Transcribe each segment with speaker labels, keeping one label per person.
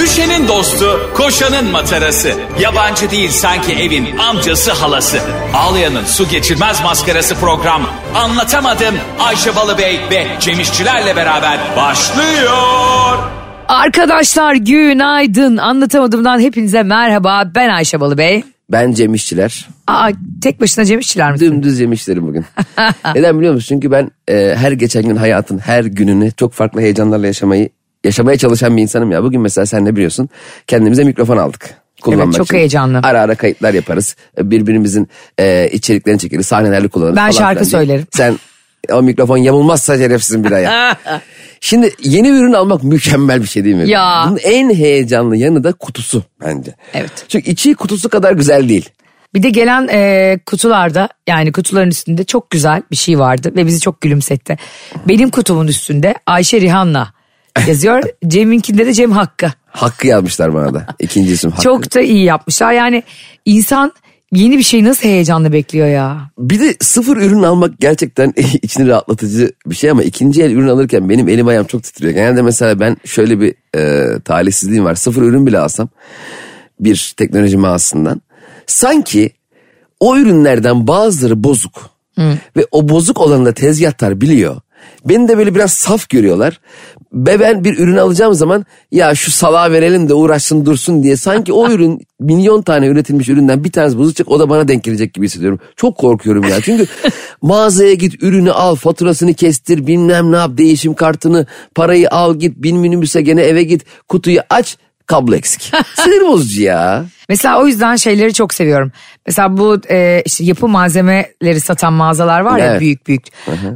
Speaker 1: Ayşe'nin dostu, koşanın matarası. Yabancı değil sanki evin amcası halası. Ağlayan'ın su geçirmez maskarası program. Anlatamadım Ayşe Balıbey ve Cemişçilerle beraber başlıyor.
Speaker 2: Arkadaşlar günaydın. Anlatamadığımdan hepinize merhaba. Ben Ayşe Balıbey.
Speaker 3: Ben Cem İşçiler.
Speaker 2: Aa tek başına Cem İşçiler misin?
Speaker 3: Dümdüz Cem İşçilerim bugün. Neden biliyor musun? Çünkü ben e, her geçen gün hayatın her gününü çok farklı heyecanlarla yaşamayı yaşamaya çalışan bir insanım ya. Bugün mesela sen ne biliyorsun? Kendimize mikrofon aldık. Kullanmak
Speaker 2: Evet, çok
Speaker 3: için.
Speaker 2: heyecanlı.
Speaker 3: Ara ara kayıtlar yaparız. E, Birbirimizin e, içeriklerini çekeriz. Sahnelerle kullanırız.
Speaker 2: Ben
Speaker 3: falan
Speaker 2: şarkı
Speaker 3: filan diye.
Speaker 2: söylerim.
Speaker 3: Sen o mikrofon yamulmazsa şerefsizin bir ayağı. Şimdi yeni bir ürün almak mükemmel bir şey değil mi?
Speaker 2: Ya.
Speaker 3: Bunun en heyecanlı yanı da kutusu bence.
Speaker 2: Evet.
Speaker 3: Çünkü içi kutusu kadar güzel değil.
Speaker 2: Bir de gelen e, kutularda yani kutuların üstünde çok güzel bir şey vardı ve bizi çok gülümsetti. Benim kutumun üstünde Ayşe Rihanna yazıyor. Cem'inkinde de Cem Hakkı.
Speaker 3: Hakkı yazmışlar bana da. İkinci isim Hakkı.
Speaker 2: Çok da iyi yapmışlar. Yani insan yeni bir şeyi nasıl heyecanla bekliyor ya.
Speaker 3: Bir de sıfır ürün almak gerçekten içini rahatlatıcı bir şey ama ikinci el ürün alırken benim elim ayağım çok titriyor. Genelde mesela ben şöyle bir e, talihsizliğim var. Sıfır ürün bile alsam bir teknoloji mağazasından sanki o ürünlerden bazıları bozuk. Ve o bozuk olanı da tezgahtar biliyor. Beni de böyle biraz saf görüyorlar. Ve ben bir ürün alacağım zaman ya şu salağa verelim de uğraşsın dursun diye sanki o ürün milyon tane üretilmiş üründen bir tanesi bozulacak o da bana denk gelecek gibi hissediyorum. Çok korkuyorum ya çünkü mağazaya git ürünü al faturasını kestir bilmem ne yap değişim kartını parayı al git bin minibüse gene eve git kutuyu aç kablo eksik. Sinir bozucu ya.
Speaker 2: Mesela o yüzden şeyleri çok seviyorum. Mesela bu e, işte yapı malzemeleri satan mağazalar var ya
Speaker 3: Evet.
Speaker 2: büyük büyük.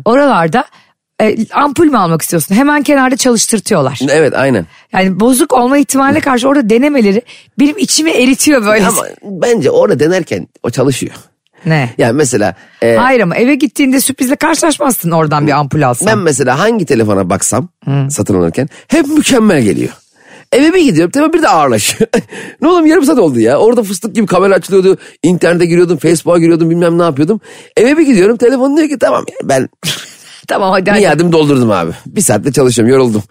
Speaker 2: Oralarda e, ampul mü almak istiyorsun? Hemen kenarda çalıştırtıyorlar.
Speaker 3: Evet aynen.
Speaker 2: Yani bozuk olma ihtimaline karşı orada denemeleri benim içimi eritiyor böyle.
Speaker 3: Ama bence orada denerken o çalışıyor.
Speaker 2: ne?
Speaker 3: Yani mesela e,
Speaker 2: Hayır ama eve gittiğinde sürprizle karşılaşmazsın oradan bir ampul alsan.
Speaker 3: ben mesela hangi telefona baksam satın alırken hep mükemmel geliyor. Eve bir gidiyorum telefon bir de ağırlaşıyor. ne oğlum yarım saat oldu ya. Orada fıstık gibi kamera açılıyordu. İnternete giriyordum, Facebook'a giriyordum bilmem ne yapıyordum. Eve bir gidiyorum telefon diyor ki tamam yani ben
Speaker 2: tamam hadi
Speaker 3: bir
Speaker 2: hadi,
Speaker 3: yardım doldurdum abi. Bir saatte çalışıyorum yoruldum.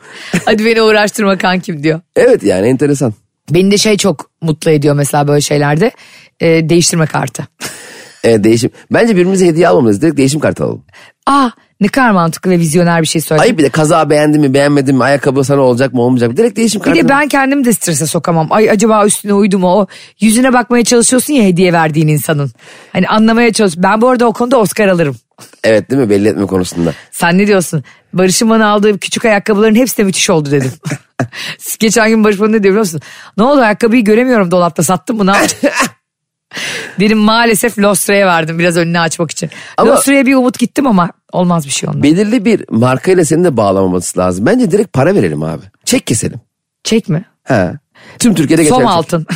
Speaker 2: hadi beni uğraştırma kankim diyor.
Speaker 3: Evet yani enteresan.
Speaker 2: Beni de şey çok mutlu ediyor mesela böyle şeylerde. e, değiştirme kartı.
Speaker 3: Evet E, değişim. Bence birbirimize hediye almamız Direkt değişim kartı alalım.
Speaker 2: Aa Ah, ne kadar mantıklı ve vizyoner bir şey söyledin.
Speaker 3: Ayıp bir de kaza beğendin mi beğenmedin mi ayakkabı sana olacak mı olmayacak mı direkt değişim
Speaker 2: Bir
Speaker 3: kartı.
Speaker 2: de ben kendimi de strese sokamam. Ay acaba üstüne uydu mu o? Yüzüne bakmaya çalışıyorsun ya hediye verdiğin insanın. Hani anlamaya çalış. Ben bu arada o konuda Oscar alırım.
Speaker 3: Evet değil mi belli etme konusunda.
Speaker 2: Sen ne diyorsun? Barış'ın bana aldığı küçük ayakkabıların hepsi de müthiş oldu dedim. Geçen gün Barış bana ne diyor biliyor musun? Ne oldu ayakkabıyı göremiyorum dolapta sattın mı ne yaptın? Dedim maalesef Lostre'ye verdim biraz önünü açmak için.
Speaker 3: Ama-
Speaker 2: Lostre'ye bir umut gittim ama olmaz bir şey ondan.
Speaker 3: belirli bir markayla seni de bağlamaması lazım. Bence direkt para verelim abi. Çek keselim.
Speaker 2: Çek mi?
Speaker 3: He. Tüm Türkiye'de geçer.
Speaker 2: Som
Speaker 3: çek.
Speaker 2: altın.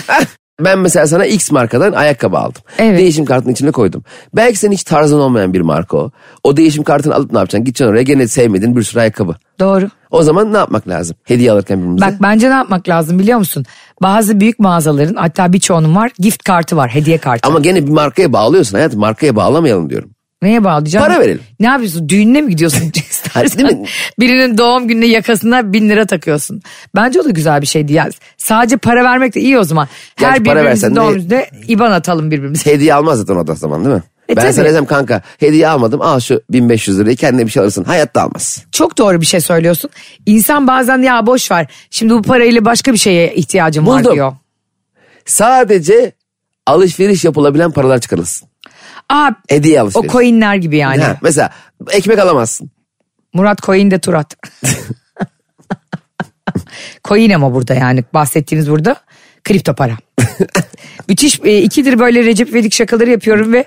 Speaker 3: Ben mesela sana X markadan ayakkabı aldım.
Speaker 2: Evet.
Speaker 3: Değişim kartının içine koydum. Belki senin hiç tarzın olmayan bir marka o. O değişim kartını alıp ne yapacaksın? Gideceksin oraya gene sevmediğin bir sürü ayakkabı.
Speaker 2: Doğru.
Speaker 3: O zaman ne yapmak lazım? Hediye alırken birbirimize.
Speaker 2: Bak bence ne yapmak lazım biliyor musun? Bazı büyük mağazaların hatta birçoğunun var gift kartı var hediye kartı.
Speaker 3: Ama gene bir markaya bağlıyorsun hayatım. Markaya bağlamayalım diyorum.
Speaker 2: Neye bağlayacağım?
Speaker 3: Para verelim.
Speaker 2: Ne yapıyorsun? Düğününe mi gidiyorsun? İstersen
Speaker 3: Değil mi?
Speaker 2: Birinin doğum gününe yakasına bin lira takıyorsun. Bence o da güzel bir şeydi. Ya, sadece para vermek de iyi o zaman.
Speaker 3: Gerçi
Speaker 2: Her
Speaker 3: para
Speaker 2: birbirimizin
Speaker 3: versen de-
Speaker 2: doğum gününe IBAN atalım birbirimize.
Speaker 3: Hediye almaz zaten o da zaman değil mi?
Speaker 2: E,
Speaker 3: ben
Speaker 2: tabii.
Speaker 3: sana desem kanka hediye almadım al şu 1500 lirayı kendine bir şey alırsın. Hayatta almaz.
Speaker 2: Çok doğru bir şey söylüyorsun. İnsan bazen ya boş ver. Şimdi bu parayla başka bir şeye ihtiyacım var
Speaker 3: Buldum.
Speaker 2: diyor.
Speaker 3: Sadece alışveriş yapılabilen paralar çıkarılsın.
Speaker 2: Aa,
Speaker 3: Hediye
Speaker 2: o Hani-
Speaker 3: alışveriş.
Speaker 2: coinler gibi yani.
Speaker 3: Ha, mesela ekmek alamazsın.
Speaker 2: Murat Coin de Turat. Coin ama burada yani bahsettiğimiz burada kripto para. Müthiş e, ikidir böyle Recep İvedik şakaları yapıyorum ve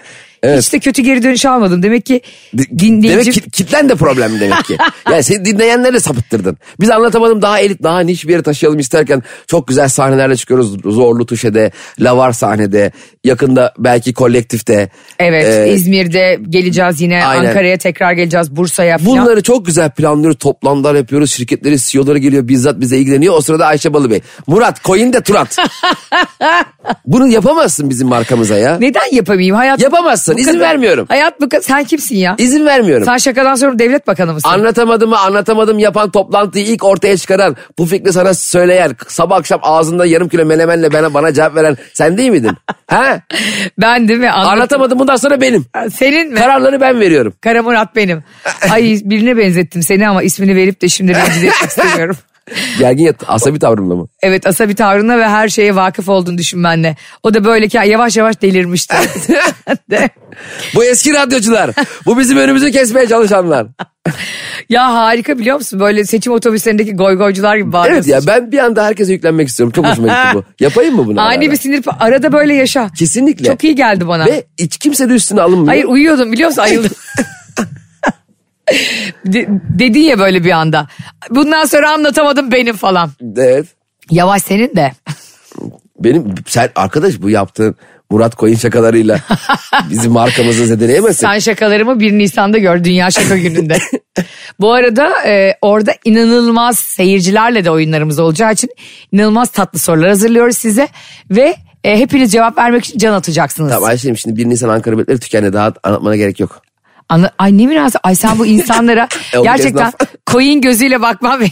Speaker 2: hiç de kötü geri dönüş almadım. Demek ki
Speaker 3: De-
Speaker 2: dinleyici...
Speaker 3: Demek ki kitlen de problem demek ki. yani seni dinleyenleri de sapıttırdın. Biz anlatamadım daha elit daha niş bir yere taşıyalım isterken çok güzel sahnelerle çıkıyoruz. Zorlu Tuşe'de, Lavar sahnede, yakında belki kolektifte.
Speaker 2: Evet
Speaker 3: Ee,
Speaker 2: İzmir'de geleceğiz yine
Speaker 3: Aynen.
Speaker 2: Ankara'ya tekrar geleceğiz Bursa'ya falan.
Speaker 3: Bunları çok güzel planlıyoruz, toplantılar yapıyoruz, şirketleri, CEO'ları geliyor, bizzat bize ilgileniyor. O sırada Ayşe Balıbey, Murat, coin de Turat. Bunu yapamazsın bizim markamıza ya.
Speaker 2: Neden yapamayayım? Hayat
Speaker 3: Yapamazsın. olsan izin
Speaker 2: kadar-
Speaker 3: vermiyorum.
Speaker 2: Hayat bu kadar. Sen kimsin ya?
Speaker 3: İzin vermiyorum.
Speaker 2: Sen şakadan sonra devlet bakanı mısın?
Speaker 3: Anlatamadığımı anlatamadım yapan toplantıyı ilk ortaya çıkaran, bu fikri sana söyleyen, sabah akşam ağzında yarım kilo menemenle bana, bana cevap veren sen değil miydin? He?
Speaker 2: ben değil mi? Anlat-
Speaker 3: Anlatamadım bundan sonra benim.
Speaker 2: Senin mi?
Speaker 3: Kararları ben veriyorum.
Speaker 2: Kara Murat benim. Ay birine benzettim seni ama ismini verip de şimdi rencide etmek istemiyorum.
Speaker 3: Gergin yat, asabi tavrımla mı?
Speaker 2: Evet asabi tavrına ve her şeye vakıf olduğunu düşünmenle. O da böyle ki yavaş yavaş delirmişti. De.
Speaker 3: Bu eski radyocular. Bu bizim önümüzü kesmeye çalışanlar.
Speaker 2: ya harika biliyor musun? Böyle seçim otobüslerindeki goygoycular gibi
Speaker 3: Evet
Speaker 2: bağırıyorsun.
Speaker 3: ya ben bir anda herkese yüklenmek istiyorum. Çok hoşuma gitti bu. Yapayım mı bunu? ara
Speaker 2: Ani
Speaker 3: ara?
Speaker 2: bir sinir pa- arada böyle yaşa.
Speaker 3: Kesinlikle.
Speaker 2: Çok iyi geldi bana.
Speaker 3: Ve hiç kimse de üstüne alınmıyor.
Speaker 2: Hayır uyuyordum biliyor musun? Ayıldım. De- dedin ya böyle bir anda. Bundan sonra anlatamadım benim falan.
Speaker 3: Evet.
Speaker 2: Yavaş senin de.
Speaker 3: Benim sen arkadaş bu yaptığın Murat Koyun şakalarıyla bizim markamızı zedeleyemezsin.
Speaker 2: Sen şakalarımı 1 Nisan'da gör Dünya Şaka Günü'nde. Bu arada e, orada inanılmaz seyircilerle de oyunlarımız olacağı için inanılmaz tatlı sorular hazırlıyoruz size. Ve e, hepiniz cevap vermek için can atacaksınız.
Speaker 3: Tamam Ayşe'm şimdi 1 Nisan Ankara biletleri tükendi daha anlatmana gerek yok.
Speaker 2: Anla- Ay ne münasebet. Ay sen bu insanlara
Speaker 3: E, o
Speaker 2: gerçekten
Speaker 3: esnaf.
Speaker 2: koyun gözüyle bakma beni.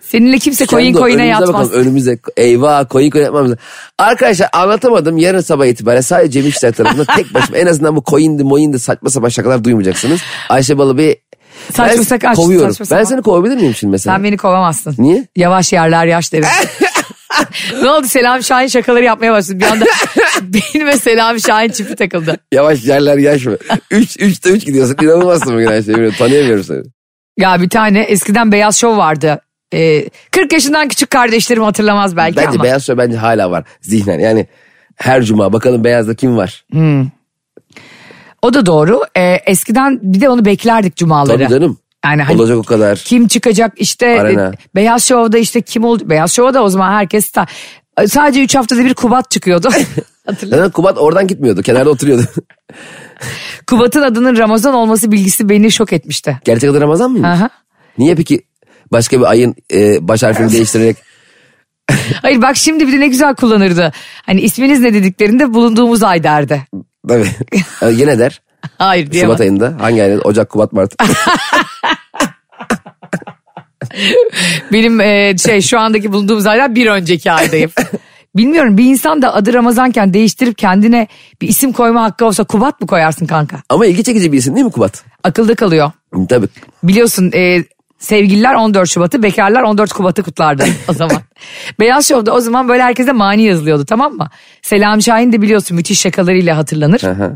Speaker 2: Seninle kimse koyun
Speaker 3: Kendi
Speaker 2: koyuna
Speaker 3: önümüze
Speaker 2: yatmaz.
Speaker 3: Bakalım, önümüze eyvah koyun koyun yapmamız. Arkadaşlar anlatamadım yarın sabah itibariyle sadece Cem İşler tarafından tek başıma en azından bu koyindi moyindi saçma sapan şakalar duymayacaksınız. Ayşe Balıbey
Speaker 2: Saçma
Speaker 3: ben
Speaker 2: sapan,
Speaker 3: kovuyorum.
Speaker 2: saçma
Speaker 3: ben
Speaker 2: sapan.
Speaker 3: seni kovabilir miyim şimdi mesela?
Speaker 2: Sen beni kovamazsın.
Speaker 3: Niye?
Speaker 2: Yavaş yerler yaş derim. ne oldu Selam Şahin şakaları yapmaya başladı. Bir anda benim ve Selam Şahin çipi takıldı.
Speaker 3: Yavaş yerler yaş mı? 3 3'te 3 gidiyorsun. İnanılmazsın bugün Ayşe. Bilmiyorum, Tanıyamıyorum seni.
Speaker 2: Ya bir tane eskiden Beyaz Şov vardı. Ee, 40 yaşından küçük kardeşlerim hatırlamaz belki
Speaker 3: Bence
Speaker 2: ama.
Speaker 3: beyaz şov bence hala var zihnen. Yani her cuma bakalım beyazda kim var?
Speaker 2: O da doğru. Ee, eskiden bir de onu beklerdik cumaları.
Speaker 3: Tabii canım.
Speaker 2: Yani hani
Speaker 3: Olacak o kadar.
Speaker 2: kim çıkacak işte
Speaker 3: Arena.
Speaker 2: e, Beyaz Şov'da işte kim oldu? Beyaz Şov'da da o zaman herkes ta- e, sadece 3 haftada bir Kubat çıkıyordu. Hatırlıyorum.
Speaker 3: Zaten Kubat oradan gitmiyordu. Kenarda oturuyordu.
Speaker 2: Kubat'ın adının Ramazan olması bilgisi beni şok etmişti.
Speaker 3: Gerçek adı Ramazan mı?
Speaker 2: Aha.
Speaker 3: Niye peki başka bir ayın e, baş harfini değiştirerek
Speaker 2: Hayır bak şimdi bir de ne güzel kullanırdı. Hani isminiz ne dediklerinde bulunduğumuz ay derdi.
Speaker 3: tabii E, yine der.
Speaker 2: Hayır diyemem.
Speaker 3: Şubat ayında hangi ayda? Ocak, Kubat, Mart.
Speaker 2: Benim e, şey şu andaki bulunduğumuz aydan bir önceki aydayım. Bilmiyorum bir insan da adı Ramazanken değiştirip kendine bir isim koyma hakkı olsa Kubat mı koyarsın kanka?
Speaker 3: Ama ilgi çekici bir isim değil mi Kubat?
Speaker 2: Akılda kalıyor.
Speaker 3: Hı, Tabii.
Speaker 2: Biliyorsun e, sevgililer 14 Şubat'ı bekarlar 14 Kubat'ı kutlardı o zaman. Beyaz Şov'da o zaman böyle herkese mani yazılıyordu tamam mı? Selam Şahin de biliyorsun müthiş şakalarıyla hatırlanır.
Speaker 3: Aha.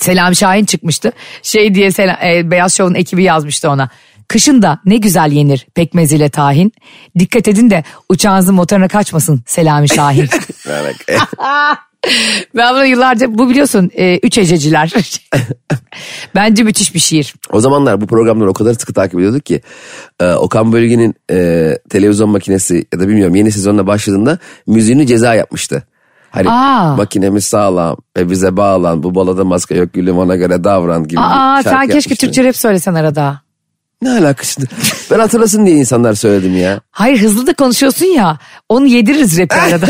Speaker 2: Selam Şahin çıkmıştı. Şey diye Sela- e, Beyaz Şov'un ekibi yazmıştı ona. Kışın da ne güzel yenir pekmez ile tahin. Dikkat edin de uçağınızın motoruna kaçmasın Selami Şahin.
Speaker 3: Ha, bak.
Speaker 2: ben bunu yıllarca bu biliyorsun e, üç ececiler. Bence müthiş bir şiir.
Speaker 3: O zamanlar bu programları o kadar sıkı takip ediyorduk ki e, Okan Bölge'nin e, televizyon makinesi ya da bilmiyorum yeni sezonla başladığında müziğini ceza yapmıştı. Hani
Speaker 2: Aa.
Speaker 3: makinemiz sağlam ve bize bağlan bu balada maske yok gülüm ona göre davran gibi
Speaker 2: Aa
Speaker 3: bir şarkı
Speaker 2: sen keşke
Speaker 3: yapmıştı.
Speaker 2: Türkçe rap söylesen arada.
Speaker 3: Ne alakası? Ben hatırlasın diye insanlar söyledim ya.
Speaker 2: Hayır hızlı da konuşuyorsun ya onu yediririz rapi arada.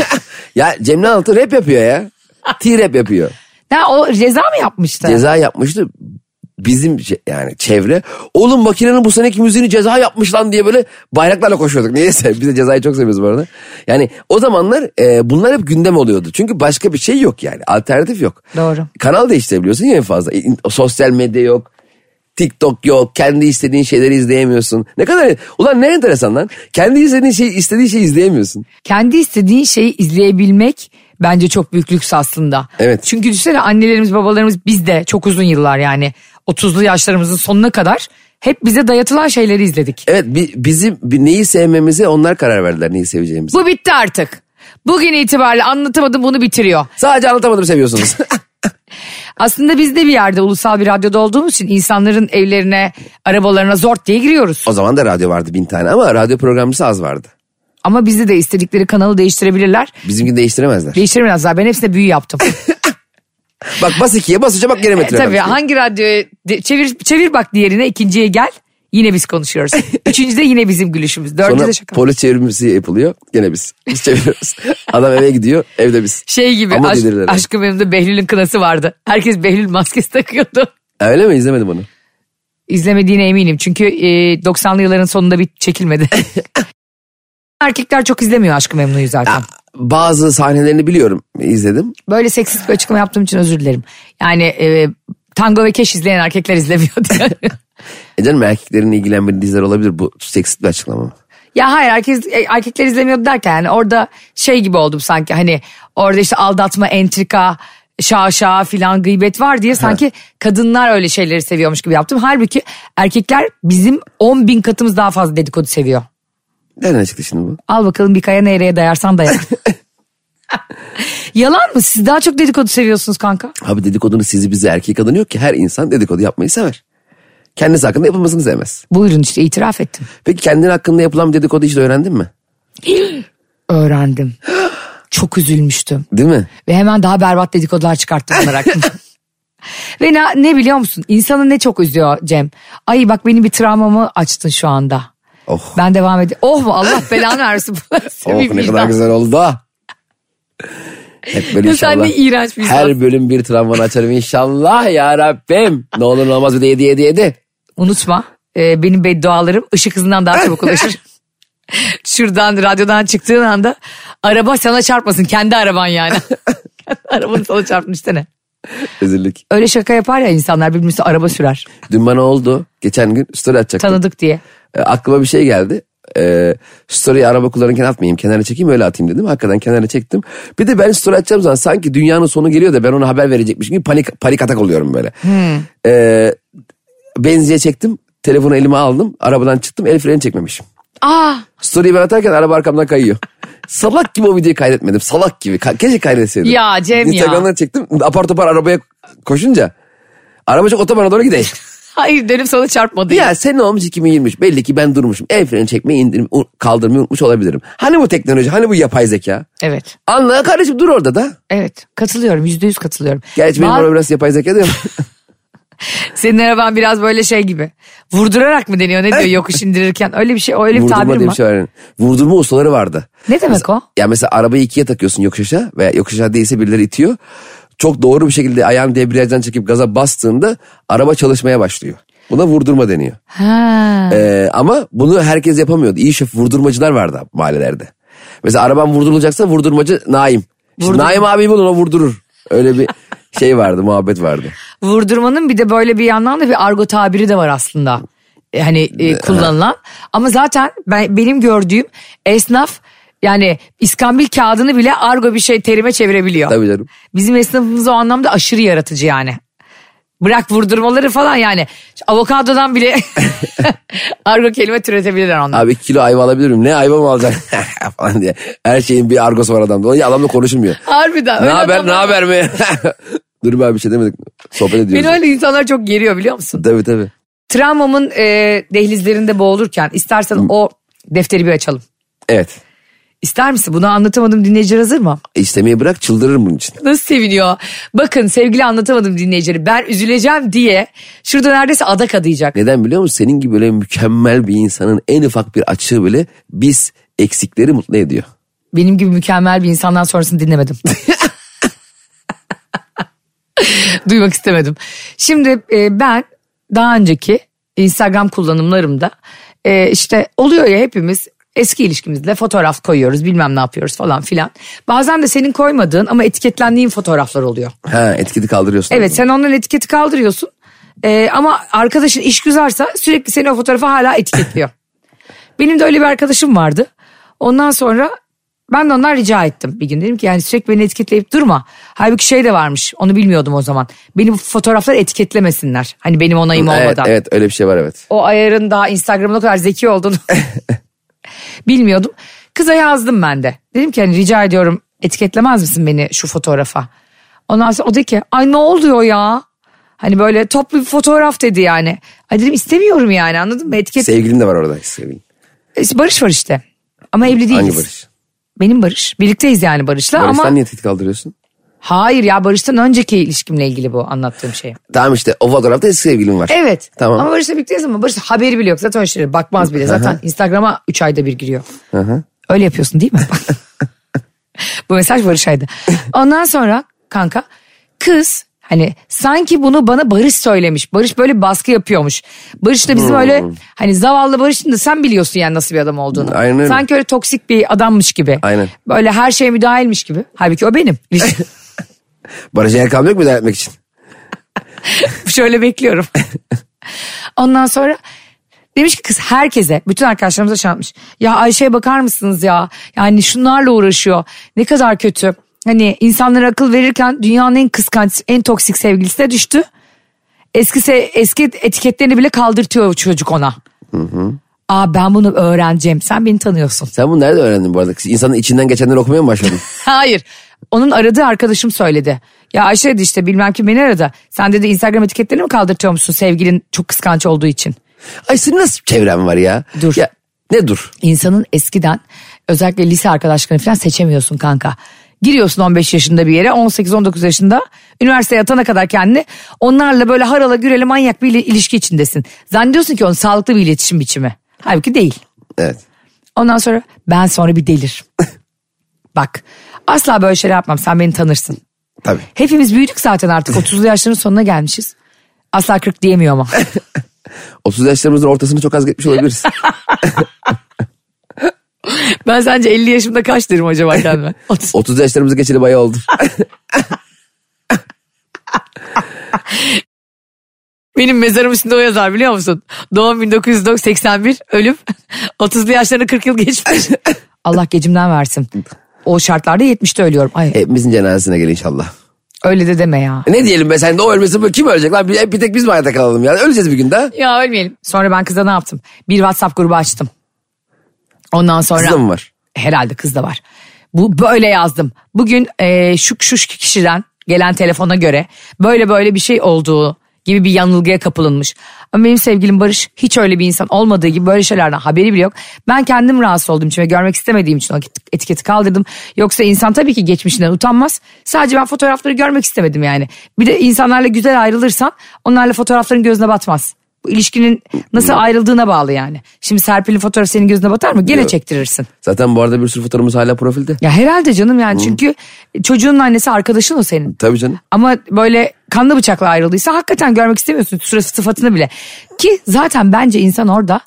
Speaker 3: Ya Cemile Altı rap yapıyor ya. T-rap yapıyor.
Speaker 2: ne o ceza mı yapmıştı?
Speaker 3: Ceza yapmıştı. Bizim ce- yani çevre oğlum makinenin bu seneki müziğini ceza yapmış lan diye böyle bayraklarla koşuyorduk. Neyse biz de cezayı çok seviyoruz bu arada. Yani o zamanlar e, bunlar hep gündem oluyordu. Çünkü başka bir şey yok yani alternatif yok.
Speaker 2: Doğru.
Speaker 3: Kanal değiştirebiliyorsun ya en fazla. İn- Sosyal medya yok. TikTok yok. Kendi istediğin şeyleri izleyemiyorsun. Ne kadar ulan ne enteresan lan. Kendi istediğin şey istediğin şeyi izleyemiyorsun.
Speaker 2: kendi istediğin şeyi izleyebilmek bence çok büyük lüks aslında.
Speaker 3: Evet.
Speaker 2: Çünkü düşünsene annelerimiz babalarımız biz de çok uzun yıllar yani 30'lu yaşlarımızın sonuna kadar hep bize dayatılan şeyleri izledik.
Speaker 3: Evet bi- bizim bi- neyi sevmemize onlar karar verdiler neyi seveceğimizi.
Speaker 2: Bu bitti artık. Bugün itibariyle anlatamadım bunu bitiriyor.
Speaker 3: Sadece anlatamadım seviyorsunuz.
Speaker 2: Aslında biz de bir yerde ulusal bir radyoda olduğumuz için insanların evlerine, arabalarına zort diye giriyoruz.
Speaker 3: O zaman da radyo vardı bin tane ama radyo programcısı az vardı.
Speaker 2: Ama bizde de istedikleri kanalı değiştirebilirler.
Speaker 3: Bizimkini değiştiremezler.
Speaker 2: Değiştiremez daha ben hepsine büyü yaptım.
Speaker 3: Bak bas ikiye bas üçe bak geri metre.
Speaker 2: E, Tabii hangi radyoyu de- çevir çevir bak diğerine ikinciye gel. Yine biz konuşuyoruz. Üçüncüde yine bizim gülüşümüz. Dördüncüde
Speaker 3: Sonra
Speaker 2: şaka.
Speaker 3: polo çevirmesi yapılıyor. Gene biz. Biz çeviriyoruz. Adam eve gidiyor. Evde biz.
Speaker 2: Şey gibi
Speaker 3: Ama
Speaker 2: aşk,
Speaker 3: delirler.
Speaker 2: aşkım benim de Behlül'ün kınası vardı. Herkes Behlül maskesi takıyordu.
Speaker 3: Öyle mi? İzlemedim onu.
Speaker 2: İzlemediğine eminim çünkü e, 90'lı yılların sonunda bir çekilmedi. Erkekler çok izlemiyor Aşkı Memnu'yu zaten.
Speaker 3: Bazı sahnelerini biliyorum. İzledim.
Speaker 2: Böyle seksist bir açıklama yaptığım için özür dilerim. Yani e, tango ve keş izleyen erkekler izlemiyor diye.
Speaker 3: E canım erkeklerin ilgilenmediği diziler olabilir. Bu seksist bir açıklama mı?
Speaker 2: ya hayır herkes e, erkekler izlemiyordu derken yani orada şey gibi oldum sanki hani orada işte aldatma, entrika, şaşa filan gıybet var diye sanki kadınlar öyle şeyleri seviyormuş gibi yaptım. Halbuki erkekler bizim 10 bin katımız daha fazla dedikodu seviyor.
Speaker 3: Nereden çıktı şimdi bu?
Speaker 2: Al bakalım bir kaya nereye dayarsan dayan. Yalan mı? Siz daha çok dedikodu seviyorsunuz kanka.
Speaker 3: Abi dedikodunun sizi bizi erkek kadını yok ki. Her insan dedikodu yapmayı sever. Kendisi hakkında yapılmasını sevmez.
Speaker 2: Buyurun işte itiraf ettim.
Speaker 3: Peki kendin hakkında yapılan bir dedikodu hiç de öğrendin mi?
Speaker 2: Öğrendim. Çok üzülmüştüm.
Speaker 3: Değil mi?
Speaker 2: Ve hemen daha berbat dedikodular çıkarttım bunlar hakkında. Ve ne, ne biliyor musun? İnsanı ne çok üzüyor Cem. Ay bak benim bir travmamı açtın şu anda.
Speaker 3: Oh.
Speaker 2: Ben devam edeyim. Oh mu Allah belanı versin. Bu nasıl
Speaker 3: Oh
Speaker 2: bir
Speaker 3: ne kadar
Speaker 2: vicdan?
Speaker 3: güzel oldu. da. Hep böyle
Speaker 2: Sen
Speaker 3: inşallah.
Speaker 2: ne iğrenç bir
Speaker 3: Her
Speaker 2: insansın.
Speaker 3: bölüm bir travmanı açarım inşallah ya Rabbim. Ne olur ne olmaz bir de yedi yedi yedi.
Speaker 2: Unutma e, benim beddualarım ışık hızından daha çabuk ulaşır. Şuradan radyodan çıktığın anda araba sana çarpmasın kendi araban yani. Kendi Arabanı sana çarpmış ne?
Speaker 3: Rezillik.
Speaker 2: Öyle şaka yapar ya insanlar birbirimize araba sürer
Speaker 3: Dün bana oldu. Geçen gün story atacaktım.
Speaker 2: tanıdık diye.
Speaker 3: E, aklıma bir şey geldi. E, story'i araba kullanırken atmayayım. Kenara çekeyim öyle atayım dedim. Hakikaten kenara çektim. Bir de ben story atacağım zaman sanki dünyanın sonu geliyor da ben ona haber verecekmişim gibi panik, panik atak oluyorum böyle.
Speaker 2: Hmm.
Speaker 3: E, benziye çektim. Telefonu elime aldım. Arabadan çıktım. El freni çekmemişim.
Speaker 2: Aa
Speaker 3: Story'i ben atarken araba arkamdan kayıyor. Salak gibi o videoyu kaydetmedim. Salak gibi. Ka- keşke kaydetseydim.
Speaker 2: Ya Cem ya.
Speaker 3: Instagram'dan çektim. Apar topar arabaya koşunca. Araba çok otobana doğru gideyim.
Speaker 2: hayır dönüp sana çarpmadı. Ya.
Speaker 3: ya sen ne olmuş 2023? Belli ki ben durmuşum. El freni çekmeyi indirim, u- kaldırmayı unutmuş olabilirim. Hani bu teknoloji? Hani bu yapay zeka?
Speaker 2: Evet
Speaker 3: Anla kardeşim dur orada da.
Speaker 2: evet katılıyorum yüzde yüz katılıyorum.
Speaker 3: Gerçi benim
Speaker 2: Ba-
Speaker 3: araba biraz yapay zeka değil mi?
Speaker 2: Senin araban biraz böyle şey gibi vurdurarak mı deniyor ne diyor yokuş indirirken öyle bir şey öyle bir
Speaker 3: Vurdurma
Speaker 2: tabir
Speaker 3: diye
Speaker 2: mi
Speaker 3: bir
Speaker 2: var?
Speaker 3: şey var. yani. Vurdurma ustaları vardı.
Speaker 2: Ne demek o?
Speaker 3: Ya mesela arabayı ikiye takıyorsun yokuş aşağı veya yokuş aşağı değilse birileri itiyor. Çok doğru bir şekilde ayağını debriyajdan çekip gaza bastığında araba çalışmaya başlıyor. Buna vurdurma deniyor.
Speaker 2: Ha.
Speaker 3: Ee, ama bunu herkes yapamıyordu. İyi şef vurdurmacılar vardı mahallelerde. Mesela araban vurdurulacaksa vurdurmacı Naim. İşte
Speaker 2: Vurdurma.
Speaker 3: Naim abi bulun o vurdurur. Öyle bir şey vardı muhabbet vardı.
Speaker 2: Vurdurmanın bir de böyle bir yandan da bir argo tabiri de var aslında. E, Hani e, kullanılan. Ama zaten ben, benim gördüğüm esnaf yani iskambil kağıdını bile argo bir şey terime çevirebiliyor.
Speaker 3: Tabii canım.
Speaker 2: Bizim esnafımız o anlamda aşırı yaratıcı yani. Bırak vurdurmaları falan yani. Avokadodan bile argo kelime türetebilirler onlar.
Speaker 3: Abi kilo ayva alabilir miyim? Ne ayva mı alacaksın? falan diye. Her şeyin bir argosu var adamda. Dolayısıyla adamla konuşulmuyor.
Speaker 2: Harbiden.
Speaker 3: Ne
Speaker 2: öyle
Speaker 3: haber ne
Speaker 2: adamlar-
Speaker 3: haber mi? Dur be abi bir şey demedik. Sohbet ediyoruz.
Speaker 2: Beni öyle insanlar çok geriyor biliyor musun?
Speaker 3: Tabii tabii.
Speaker 2: Travmamın e, dehlizlerinde boğulurken istersen o defteri bir açalım.
Speaker 3: Evet.
Speaker 2: İster misin? Bunu anlatamadım dinleyiciler hazır mı?
Speaker 3: İstemeyi bırak çıldırırım bunun için.
Speaker 2: Nasıl seviniyor? Bakın sevgili anlatamadım dinleyicileri ben üzüleceğim diye şurada neredeyse adak adayacak.
Speaker 3: Neden biliyor musun? Senin gibi böyle mükemmel bir insanın en ufak bir açığı bile biz eksikleri mutlu ediyor.
Speaker 2: Benim gibi mükemmel bir insandan sonrasını dinlemedim. Duymak istemedim. Şimdi e, ben daha önceki Instagram kullanımlarımda e, işte oluyor ya hepimiz eski ilişkimizde fotoğraf koyuyoruz bilmem ne yapıyoruz falan filan. Bazen de senin koymadığın ama etiketlendiğin fotoğraflar oluyor.
Speaker 3: Ha etkili kaldırıyorsun.
Speaker 2: Evet sen onların etiketi kaldırıyorsun. Ee, ama arkadaşın işgüzarsa sürekli seni o fotoğrafa hala etiketliyor. Benim de öyle bir arkadaşım vardı. Ondan sonra ben de ondan rica ettim bir gün. Dedim ki yani sürekli beni etiketleyip durma. Halbuki şey de varmış onu bilmiyordum o zaman. Benim fotoğrafları etiketlemesinler. Hani benim onayım
Speaker 3: Evet,
Speaker 2: olmadan.
Speaker 3: evet öyle bir şey var evet.
Speaker 2: O ayarın daha Instagram'ın o kadar zeki olduğunu bilmiyordum. Kıza yazdım ben de. Dedim ki hani rica ediyorum etiketlemez misin beni şu fotoğrafa? Ondan sonra o dedi ki ay ne oluyor ya? Hani böyle toplu bir fotoğraf dedi yani. Ay dedim istemiyorum yani anladın mı? Etiket
Speaker 3: Sevgilin de var orada sevgilin.
Speaker 2: Barış var işte. Ama evli değiliz.
Speaker 3: Hangi Barış?
Speaker 2: Benim Barış. Birlikteyiz yani Barış'la
Speaker 3: Barış'tan
Speaker 2: ama
Speaker 3: niye tehdit kaldırıyorsun?
Speaker 2: Hayır ya Barış'tan önceki ilişkimle ilgili bu anlattığım şey.
Speaker 3: Tamam işte o fotoğrafta eski sevgilim var.
Speaker 2: Evet.
Speaker 3: Tamam.
Speaker 2: Ama Barış'la birlikteyiz ama Barış haberi bile yok. Zaten o işlere bakmaz bile. Zaten Instagram'a 3 ayda bir giriyor. Öyle yapıyorsun değil mi? Bak. bu mesaj Barış'aydı. Ondan sonra kanka kız hani sanki bunu bana Barış söylemiş. Barış böyle baskı yapıyormuş. Barış da bizim öyle
Speaker 3: Hmm.
Speaker 2: hani zavallı Barış'ın da sen biliyorsun yani nasıl bir adam olduğunu.
Speaker 3: Aynen öyle.
Speaker 2: Sanki öyle toksik bir adammış gibi.
Speaker 3: Aynen.
Speaker 2: Böyle her şeye müdahilmiş gibi. Halbuki o benim.
Speaker 3: Barış Erkan yok mu idare etmek için?
Speaker 2: Şöyle bekliyorum. Ondan sonra demiş ki kız herkese, bütün arkadaşlarımıza şey yapmış. Ya Ayşe'ye bakar mısınız ya? Yani şunlarla uğraşıyor. Ne kadar kötü. Hani insanlara akıl verirken dünyanın en kıskanç, en toksik sevgilisine düştü. Eski, se- eski etiketlerini bile kaldırtıyor çocuk ona. Aa ben bunu öğreneceğim. Sen beni tanıyorsun.
Speaker 3: Sen bunu nerede öğrendin bu arada? İnsanın içinden geçenleri okumaya mı başladın?
Speaker 2: Hayır. Onun aradığı arkadaşım söyledi. Ya Ayşe dedi işte bilmem kim beni aradı. Sen dedi Instagram etiketlerini mi kaldırtıyor musun sevgilin çok kıskanç olduğu için?
Speaker 3: Ay senin nasıl çevren var ya?
Speaker 2: Dur.
Speaker 3: Ya, ne dur?
Speaker 2: İnsanın eskiden özellikle lise arkadaşlarını falan seçemiyorsun kanka. Giriyorsun 15 yaşında bir yere 18-19 yaşında üniversiteye atana kadar kendini onlarla böyle harala gürele manyak bir ili- ilişki içindesin. Zannediyorsun ki onun sağlıklı bir iletişim biçimi. Halbuki değil.
Speaker 3: Evet.
Speaker 2: Ondan sonra ben sonra bir delir. Bak asla böyle şeyler yapmam sen beni tanırsın.
Speaker 3: Tabii.
Speaker 2: Hepimiz büyüdük zaten artık 30'lu yaşların sonuna gelmişiz. Asla 40 diyemiyor ama.
Speaker 3: 30 yaşlarımızın ortasını çok az geçmiş olabiliriz.
Speaker 2: ben sence 50 yaşımda kaç derim acaba kendime? 30.
Speaker 3: 30 yaşlarımızı geçeli bayağı oldu.
Speaker 2: Benim mezarım üstünde o yazar biliyor musun? Doğum 1981, ölüm 30'lu yaşlarına 40 yıl geçmiş. Allah gecimden versin. O şartlarda 70'te ölüyorum. Ay
Speaker 3: Hepimizin cenazesine gel inşallah.
Speaker 2: öyle de deme ya.
Speaker 3: E Ne diyelim be sen de o ölmesin bu- kim ölecek lan? Bir, bir tek biz mi hayatta kalalım ya? Öleceğiz bir gün daha.
Speaker 2: Ya ölmeyelim. Sonra ben kıza ne yaptım? Bir WhatsApp grubu açtım. Ondan sonra...
Speaker 3: Kızda mı var?
Speaker 2: herhalde kız da var. Bu böyle yazdım. Bugün eee şu şu şu kişiden gelen telefona göre böyle böyle bir şey olduğu gibi bir yanılgıya kapılınmış. Ama benim sevgilim Barış hiç öyle bir insan olmadığı gibi böyle şeylerden haberi bile yok. Ben kendim rahatsız olduğum için ve görmek istemediğim için o etiketi kaldırdım. Yoksa insan tabii ki geçmişinden utanmaz. Sadece ben fotoğrafları görmek istemedim yani. Bir de insanlarla güzel ayrılırsan onlarla fotoğrafların gözüne batmaz. Bu ilişkinin nasıl ayrıldığına bağlı yani. Şimdi Serpil'in fotoğrafı senin gözüne batar mı? Gene
Speaker 3: Yok.
Speaker 2: çektirirsin.
Speaker 3: Zaten bu arada bir sürü fotoğrafımız hala profilde.
Speaker 2: Ya herhalde canım yani çünkü çocuğun annesi arkadaşın o senin.
Speaker 3: Tabii canım.
Speaker 2: Ama böyle kanlı bıçakla ayrıldıysa hakikaten görmek istemiyorsun sırası sıfatını bile. Ki zaten bence insan orada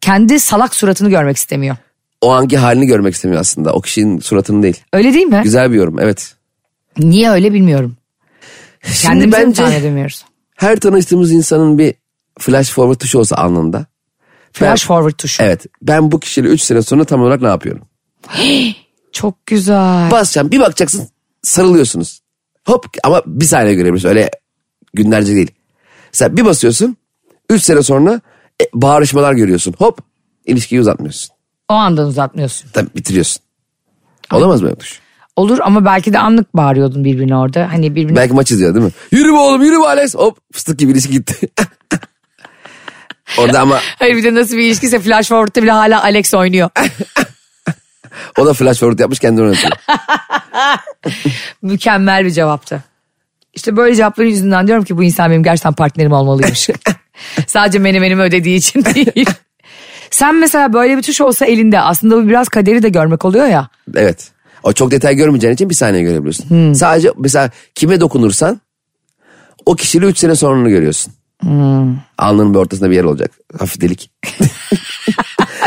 Speaker 2: kendi salak suratını görmek istemiyor.
Speaker 3: O anki halini görmek istemiyor aslında. O kişinin suratını değil.
Speaker 2: Öyle değil mi?
Speaker 3: Güzel bir yorum evet.
Speaker 2: Niye öyle bilmiyorum. Kendimizi bence... mi
Speaker 3: bence-
Speaker 2: tahmin edemiyoruz?
Speaker 3: Her tanıştığımız insanın bir flash forward tuşu olsa anında.
Speaker 2: Flash forward tuşu.
Speaker 3: Evet. Ben bu kişiyle 3 sene sonra tam olarak ne yapıyorum?
Speaker 2: Çok güzel.
Speaker 3: Basacağım bir bakacaksın sarılıyorsunuz. Hop ama bir saniye görebilirsin öyle günlerce değil. Sen bir basıyorsun 3 sene sonra e, bağrışmalar görüyorsun. Hop ilişkiyi uzatmıyorsun.
Speaker 2: O andan uzatmıyorsun.
Speaker 3: Tabii bitiriyorsun. Olamaz mı yapmış?
Speaker 2: Olur ama belki de anlık bağırıyordun birbirine orada. Hani birbirine
Speaker 3: Belki maç izliyor değil mi? Yürü be oğlum yürü be Alex. Hop fıstık gibi ilişki gitti. Orada ama
Speaker 2: Hayır bir de nasıl bir ilişkiyse flash forward'ta bile hala Alex oynuyor.
Speaker 3: o da flash forward yapmış kendini oynatıyor.
Speaker 2: Mükemmel bir cevaptı. İşte böyle cevapların yüzünden diyorum ki bu insan benim gerçekten partnerim olmalıymış. Sadece menemenimi ödediği için değil. Sen mesela böyle bir tuş olsa elinde aslında bu biraz kaderi de görmek oluyor ya.
Speaker 3: Evet. O çok detay görmeyeceğin için bir saniye görebiliyorsun. Sadece mesela kime dokunursan o kişiyle 3 sene sonunu görüyorsun. Alnının bir ortasında bir yer olacak. Hafif delik.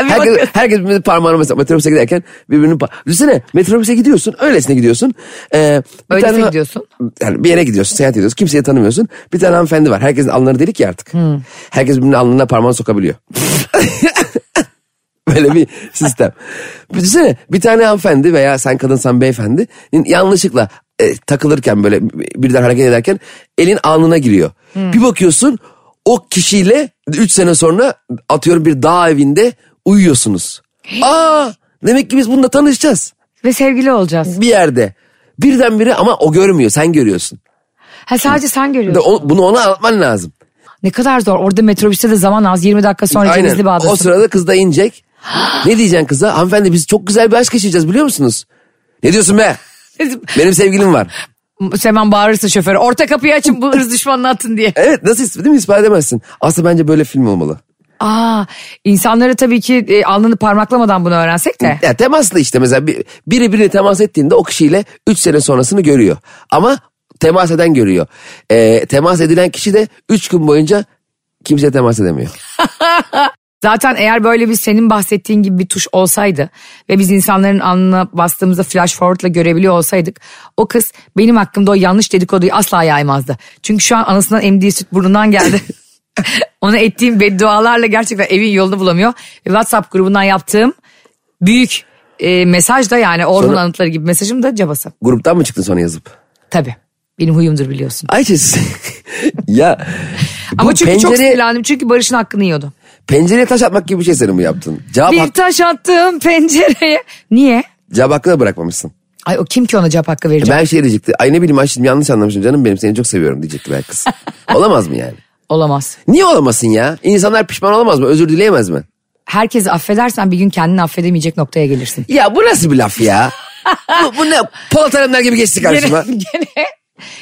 Speaker 2: Abi bak-
Speaker 3: Herkes, herkes birbirinin parmağını mesela metrobüse giderken birbirinin... Pa- Düşünsene metrobüse gidiyorsun öylesine gidiyorsun. Ee, bir
Speaker 2: Öylesine
Speaker 3: tane-
Speaker 2: gidiyorsun.
Speaker 3: Yani bir yere gidiyorsun seyahat ediyorsun kimseyi tanımıyorsun. Bir tane hanımefendi var herkesin alnları delik ya artık. Herkes birbirinin alnına parmağını sokabiliyor. Böyle bir sistem. Düşünsene bir tane hanımefendi veya sen kadınsan beyefendi yanlışlıkla e, takılırken böyle birden hareket ederken elin alnına giriyor. Bir bakıyorsun o kişiyle 3 sene sonra atıyorum bir dağ evinde uyuyorsunuz. Aa demek ki biz bununla tanışacağız
Speaker 2: Ve sevgili olacağız.
Speaker 3: bir yerde. Birdenbire ama o görmüyor sen görüyorsun.
Speaker 2: Ha sadece sen
Speaker 3: De
Speaker 2: görüyorsun.
Speaker 3: o- bunu ona anlatman lazım.
Speaker 2: Ne kadar zor. Orada metrobüste de zaman az. 20 dakika sonra Cevizli
Speaker 3: Aynen. O
Speaker 2: Bağ'dasın.
Speaker 3: sırada kız da inecek. ne diyeceksin kıza? Hanımefendi biz çok güzel bir aşk yaşayacağız biliyor musunuz? Ne diyorsun be? Benim sevgilim var.
Speaker 2: Seman bağırırsın şoföre. Orta kapıyı açın bu hırs düşmanını atın diye.
Speaker 3: Evet nasıl ismi değil mi ispat edemezsin. Aslında bence böyle film olmalı.
Speaker 2: Aa, insanları tabii ki e, alnını parmaklamadan bunu öğrensek de.
Speaker 3: Ya temaslı işte mesela bir- biri birine temas ettiğinde o kişiyle 3 sene sonrasını görüyor. Ama temas eden görüyor. Ee, temas edilen kişi de 3 gün boyunca kimseye temas edemiyor.
Speaker 2: Zaten eğer böyle bir senin bahsettiğin gibi bir tuş olsaydı ve biz insanların alnına bastığımızda flash forward'la görebiliyor olsaydık o kız benim hakkımda o yanlış dedikoduyu asla yaymazdı. Çünkü şu an anasından emdiği süt burnundan geldi. Ona ettiğim beddualarla gerçekten evin yolunu bulamıyor. Ve WhatsApp grubundan yaptığım büyük e, mesaj da yani Orhun
Speaker 3: Sonra-
Speaker 2: Anıtları gibi mesajım da cabası.
Speaker 3: Gruptan mı çıktın sonra yazıp?
Speaker 2: Tabii benim huyumdur biliyorsun.
Speaker 3: Ayşe siz- ya
Speaker 2: Ama
Speaker 3: bu
Speaker 2: çünkü çok
Speaker 3: pencere-
Speaker 2: sinirlendim çünkü Barış'ın hakkını yiyordu.
Speaker 3: pencereye taş atmak gibi bir şey senin bu yaptın. Cevap,
Speaker 2: Bir
Speaker 3: hak-
Speaker 2: taş attım pencereye. Niye?
Speaker 3: cevap hakkı da bırakmamışsın.
Speaker 2: Ay o kim ki ona cevap hakkı verecek?
Speaker 3: Ben şey diyecekti. Ay ne bileyim ay şimdi yanlış anlamışım canım benim seni çok seviyorum diyecekti belki kız. Olamaz mı yani?
Speaker 2: Olamaz.
Speaker 3: Niye olamasın ya? İnsanlar pişman olamaz mı? Özür dileyemez mi?
Speaker 2: Herkesi affedersen bir gün kendini affedemeyecek noktaya gelirsin.
Speaker 3: Ya bu nasıl bir laf ya? bu, bu ne? Polat Alemdar gibi geçti karşıma.
Speaker 2: Gene, gene.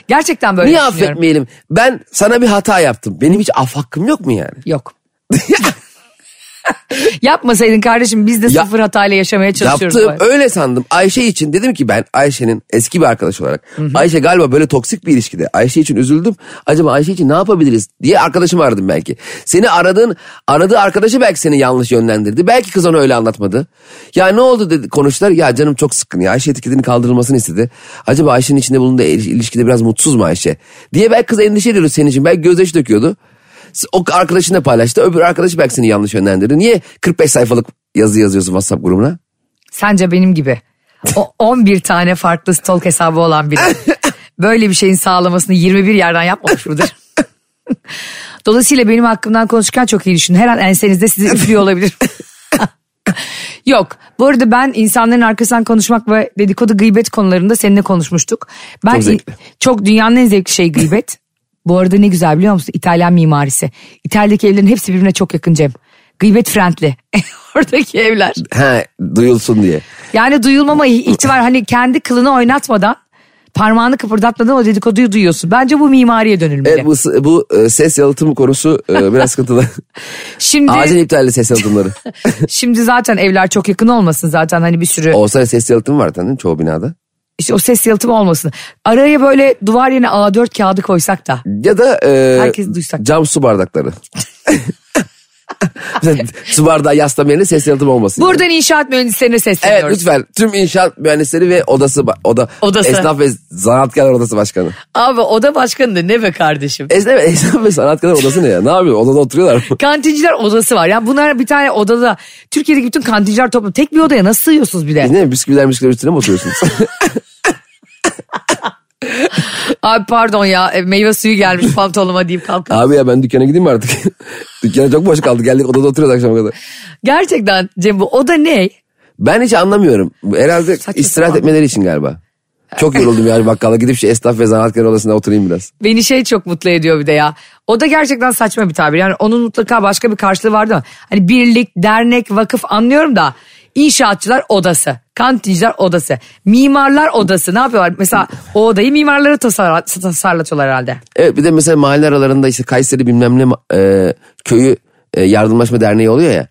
Speaker 2: Gerçekten böyle
Speaker 3: Niye
Speaker 2: düşünüyorum.
Speaker 3: affetmeyelim? Ben sana bir hata yaptım. Benim hiç af hakkım yok mu yani?
Speaker 2: Yok. Yapmasaydın kardeşim biz de
Speaker 3: Ya-
Speaker 2: sıfır hatayla yaşamaya çalışıyoruz.
Speaker 3: Yaptım
Speaker 2: bu arada.
Speaker 3: öyle sandım. Ayşe için dedim ki ben Ayşe'nin eski bir arkadaş olarak. Ayşe galiba böyle toksik bir ilişkide. Ayşe için üzüldüm. Acaba Ayşe için ne yapabiliriz diye arkadaşımı aradım belki. Seni aradığın aradığı arkadaşı belki seni yanlış yönlendirdi. Belki kız ona öyle anlatmadı. Ya ne oldu dedi konuştular. Ya canım çok sıkkın ya Ayşe etiketinin kaldırılmasını istedi. Acaba Ayşe'nin içinde bulunduğu il- ilişkide biraz mutsuz mu Ayşe? Diye belki kız endişe ediyordu senin için. Belki gözyaşı döküyordu. O arkadaşına paylaştı. Öbür arkadaşı belki seni yanlış yönlendirdi. Niye 45 sayfalık yazı yazıyorsun WhatsApp grubuna?
Speaker 2: Sence benim gibi. O 11 tane farklı stalk hesabı olan biri. Böyle bir şeyin sağlamasını 21 yerden yapmamış mıdır? Dolayısıyla benim hakkımdan konuşurken çok iyi düşünün. Her an ensenizde sizi üflüyor olabilir. Yok. Bu arada ben insanların arkasından konuşmak ve dedikodu gıybet konularında seninle konuşmuştuk. Ben
Speaker 3: Çok zevkli.
Speaker 2: çok dünyanın en zevkli şeyi gıybet. Bu arada ne güzel biliyor musun? İtalyan mimarisi. İtalya'daki evlerin hepsi birbirine çok yakın Cem. Gıybet friendly. Oradaki evler.
Speaker 3: He duyulsun diye.
Speaker 2: Yani duyulmama ih- ihtimal hani kendi kılını oynatmadan parmağını kıpırdatmadan o dedikoduyu duyuyorsun. Bence bu mimariye dönülmeli.
Speaker 3: Evet, bu, bu e, ses yalıtımı konusu e, biraz sıkıntılı.
Speaker 2: şimdi
Speaker 3: Acil iptalli ses yalıtımları.
Speaker 2: şimdi zaten evler çok yakın olmasın zaten hani bir sürü
Speaker 3: Olsa ses yalıtımı var tanıdın çoğu binada.
Speaker 2: işte o ses yalıtımı olmasın. Araya böyle duvar yerine A4 kağıdı koysak da.
Speaker 3: Ya da e,
Speaker 2: Herkes duysak.
Speaker 3: cam su bardakları. Mesela su bardağı yaslama yerine ses yalıtımı olmasın. yani.
Speaker 2: Buradan inşaat mühendislerine
Speaker 3: Evet
Speaker 2: sesleniyoruz.
Speaker 3: lütfen tüm inşaat mühendisleri ve odası ba- oda
Speaker 2: Odası.
Speaker 3: esnaf ve sanatkarlar odası başkanı.
Speaker 2: Abi oda başkanı da ne be kardeşim.
Speaker 3: Esnaf, esnaf ve sanatkarlar odası ne ya? Ne yapıyor? Odada oturuyorlar mı?
Speaker 2: Kantinciler odası var. Yani bunlar bir tane odada Türkiye'deki bütün kantinciler toplu tek bir odaya nasıl sığıyorsunuz bir de?
Speaker 3: Biz ne bisküviler bisküviler üstüne mi oturuyorsunuz?
Speaker 2: Abi pardon ya e, meyve suyu gelmiş pantolonuma deyip kalkın.
Speaker 3: Abi ya ben dükkana gideyim mi artık? Dükkana çok boş kaldı. Geldik odada oturuyoruz akşama kadar.
Speaker 2: Gerçekten Cem bu oda ne?
Speaker 3: Ben hiç anlamıyorum. Herhalde
Speaker 2: Saçma
Speaker 3: istirahat
Speaker 2: sapan.
Speaker 3: etmeleri için galiba. Çok yoruldum yani bakkala gidip şu esnaf ve zanaatkar odasında oturayım biraz.
Speaker 2: Beni şey çok mutlu ediyor bir de ya. O da gerçekten saçma bir tabir. Yani onun mutlaka başka bir karşılığı vardı ama. Hani birlik, dernek, vakıf anlıyorum da. İnşaatçılar odası, kantinciler odası, mimarlar odası ne yapıyorlar? Mesela o odayı mimarlara tasar tasarlatıyorlar herhalde.
Speaker 3: Evet bir de mesela mahalle aralarında işte Kayseri bilmem ne ma- e, köyü e, yardımlaşma derneği oluyor ya.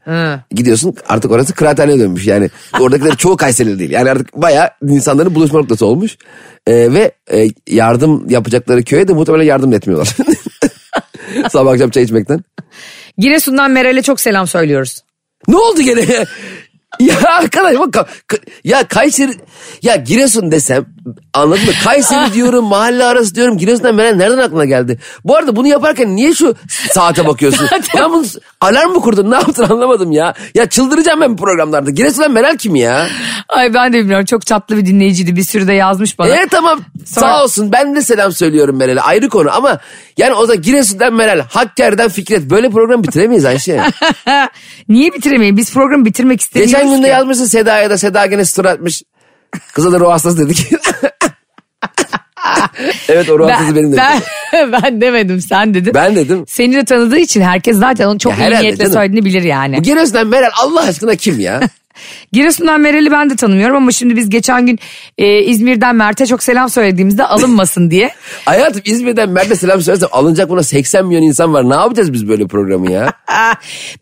Speaker 3: Gidiyorsun artık orası kıraathaneye dönmüş yani. Oradakiler çoğu Kayserili değil. Yani artık bayağı insanların buluşma noktası olmuş. E, ve e, yardım yapacakları köye de muhtemelen yardım da etmiyorlar. Sabah akşam çay içmekten.
Speaker 2: Giresun'dan Meral'e çok selam söylüyoruz.
Speaker 3: Ne oldu gene? ya arkadaş bak ka- ka- ya Kayseri ya Giresun desem anladın mı? Kayseri diyorum mahalle arası diyorum Giresun'dan Meral nereden aklına geldi? Bu arada bunu yaparken niye şu saate bakıyorsun? ya bunu alarm mı kurdun ne yaptın anlamadım ya. Ya çıldıracağım ben bu programlarda. Giresun'dan Meral kim ya?
Speaker 2: Ay ben de bilmiyorum çok tatlı bir dinleyiciydi bir sürü de yazmış bana.
Speaker 3: E tamam sağ
Speaker 2: Sonra-
Speaker 3: olsun ben de selam söylüyorum Meral'e ayrı konu ama yani o da Giresun'dan Meral Hakkari'den Fikret böyle program bitiremeyiz Ayşe.
Speaker 2: Niye bitiremeyin biz programı bitirmek istemiyoruz
Speaker 3: Geçen gün de
Speaker 2: ki.
Speaker 3: yazmışsın Seda'ya da Seda gene story atmış. Kıza da ruh hastası dedik. evet o ruh hastası benim dedim. Ben,
Speaker 2: ben, ben demedim sen dedin.
Speaker 3: dedim.
Speaker 2: Seni de tanıdığı için herkes zaten onu çok
Speaker 3: Ya
Speaker 2: iyi
Speaker 3: herhalde
Speaker 2: niyetle
Speaker 3: canım.
Speaker 2: söylediğini bilir yani.
Speaker 3: Bu Giresun'dan Meral Allah aşkına kim ya?
Speaker 2: Giresun'dan Meral'i ben de tanımıyorum ama şimdi biz geçen gün e, İzmir'den Mert'e çok selam söylediğimizde alınmasın diye.
Speaker 3: Hayatım İzmir'den Mert'e selam söylersem alınacak buna 80 milyon insan var. Ne yapacağız biz böyle programı ya?
Speaker 2: Aa,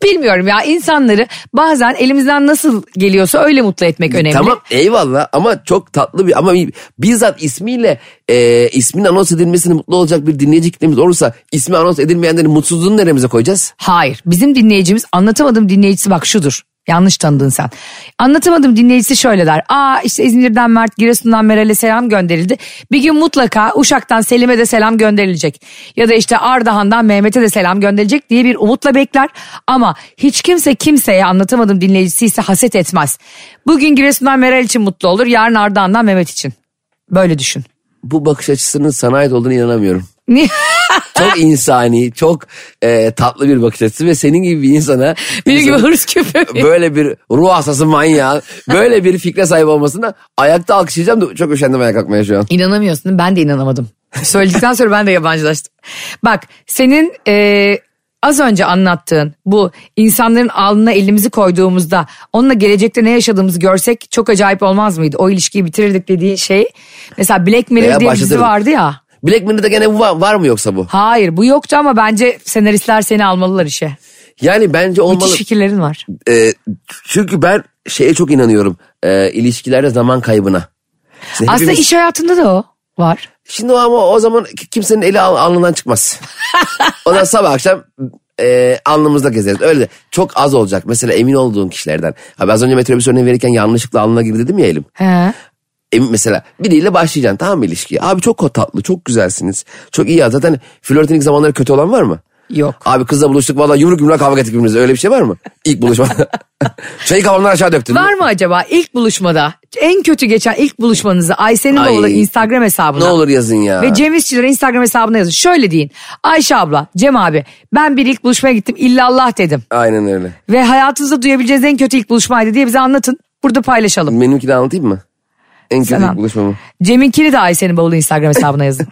Speaker 2: Bilmiyorum ya insanları bazen elimizden nasıl geliyorsa öyle mutlu etmek önemli.
Speaker 3: Tamam eyvallah ama çok tatlı bir ama bir- bizzat ismiyle e, ismin anons edilmesini mutlu olacak bir dinleyici kitlemiz olursa ismi anons edilmeyenlerin mutsuzluğunu neremize koyacağız?
Speaker 2: Hayır bizim dinleyicimiz anlatamadım dinleyicisi bak şudur. Yanlış tanıdın sen. Anlatamadım dinleyicisi şöyle der. Aa işte İzmir'den Mert, Giresun'dan Meral'e selam gönderildi. Bir gün mutlaka Uşak'tan Selim'e de selam gönderilecek. Ya da işte Ardahan'dan Mehmet'e de selam gönderilecek diye bir umutla bekler. Ama hiç kimse kimseye anlatamadım dinleyicisi ise haset etmez. Bugün Giresun'dan Meral için mutlu olur. Yarın Ardahan'dan Mehmet için. Böyle düşün.
Speaker 3: Bu bakış açısının sana ait olduğuna inanamıyorum.
Speaker 2: Niye?
Speaker 3: Çok insani, çok e, tatlı bir bakış açısı ve senin gibi bir insana
Speaker 2: Benim gibi
Speaker 3: insanın
Speaker 2: hırs köpeği.
Speaker 3: böyle bir ruh hastası manyağı, böyle bir fikre sahip olmasına ayakta alkışlayacağım da çok üşendim ayağa kalkmaya şu an.
Speaker 2: İnanamıyorsun değil mi? ben de inanamadım. Söyledikten sonra ben de yabancılaştım. Bak senin e, az önce anlattığın bu insanların alnına elimizi koyduğumuzda onunla gelecekte ne yaşadığımızı görsek çok acayip olmaz mıydı? O ilişkiyi bitirirdik dediğin şey. Mesela Black Mirror
Speaker 3: Veya
Speaker 2: diye bir dizi
Speaker 3: başlatırdık.
Speaker 2: vardı ya.
Speaker 3: Black Mirror'da gene bu var, var mı yoksa bu?
Speaker 2: Hayır bu yoktu ama bence senaristler seni almalılar işe.
Speaker 3: Yani bence olmalı.
Speaker 2: Müthiş fikirlerin var.
Speaker 3: E, çünkü ben şeye çok inanıyorum. E, ilişkilerde zaman kaybına. Şimdi
Speaker 2: Aslında
Speaker 3: hepimiz-
Speaker 2: iş hayatında da o var.
Speaker 3: Şimdi o ama o zaman ki- kimsenin eli al- alnından çıkmaz. o zaman sabah akşam e, alnımızda gezeriz. Öyle de çok az olacak. Mesela emin olduğun kişilerden. Abi az önce metrobüs örneği verirken yanlışlıkla alnına girdi dedim ya elim.
Speaker 2: He.
Speaker 3: Emin mesela biriyle başlayacaksın tamam mı ilişkiye? Abi çok tatlı, çok güzelsiniz. Çok iyi ya. Zaten flörtün ilk zamanları kötü olan var mı?
Speaker 2: Yok.
Speaker 3: Abi kızla buluştuk valla yumruk yumruğa kavga ettik birbirimize. Öyle bir şey var mı? İlk buluşmada. Çayı kafamdan aşağı döktün.
Speaker 2: Var mı acaba ilk buluşmada en kötü geçen ilk buluşmanızı Aysen'in
Speaker 3: Ay.
Speaker 2: oğlu Instagram hesabına.
Speaker 3: Ne olur yazın ya.
Speaker 2: Ve Cem İşçilerin Instagram hesabına yazın. Şöyle deyin. Ayşe abla, Cem abi ben bir ilk buluşmaya gittim illallah dedim.
Speaker 3: Aynen öyle.
Speaker 2: Ve hayatınızda duyabileceğiniz en kötü ilk buluşmaydı diye bize anlatın. Burada paylaşalım.
Speaker 3: Benimkini anlatayım mı? En kötü
Speaker 2: Sen
Speaker 3: ilk
Speaker 2: an.
Speaker 3: buluşmamı.
Speaker 2: Cem'inkini de Ayşe'nin bavulu Instagram hesabına yazın.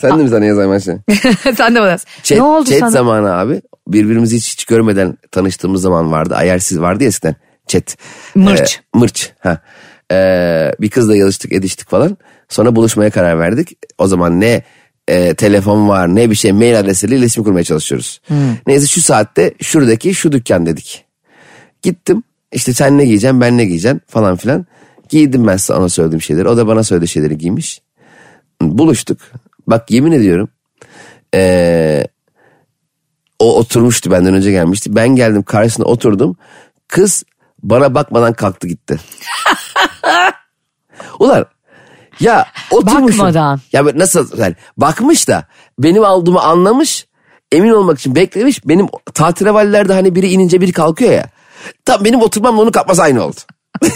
Speaker 3: Sen de mi sana yazayım Ayşe?
Speaker 2: Sen de bana yaz.
Speaker 3: Chat,
Speaker 2: ne oldu
Speaker 3: chat
Speaker 2: sana?
Speaker 3: zamanı abi. Birbirimizi hiç, hiç görmeden tanıştığımız zaman vardı. Ayersiz vardı ya eskiden. Chat.
Speaker 2: Mırç.
Speaker 3: Ee, mırç. Ha. Ee, bir kızla yazıştık ediştik falan. Sonra buluşmaya karar verdik. O zaman ne e, telefon var ne bir şey mail adresiyle iletişim kurmaya çalışıyoruz. Neyse şu saatte şuradaki şu dükkan dedik. Gittim işte sen ne giyeceksin ben ne giyeceğim falan filan. Giydim ben sana söylediğim şeyleri. O da bana söylediği şeyleri giymiş. Buluştuk. Bak yemin ediyorum ee, o oturmuştu benden önce gelmişti. Ben geldim karşısına oturdum. Kız bana bakmadan kalktı gitti. Ulan ya oturmuşum.
Speaker 2: Bakmadan.
Speaker 3: Ya ben nasıl yani bakmış da benim aldığımı anlamış. Emin olmak için beklemiş. Benim tatilevallerde hani biri inince biri kalkıyor ya. Tam benim oturmamla onu kapması aynı oldu.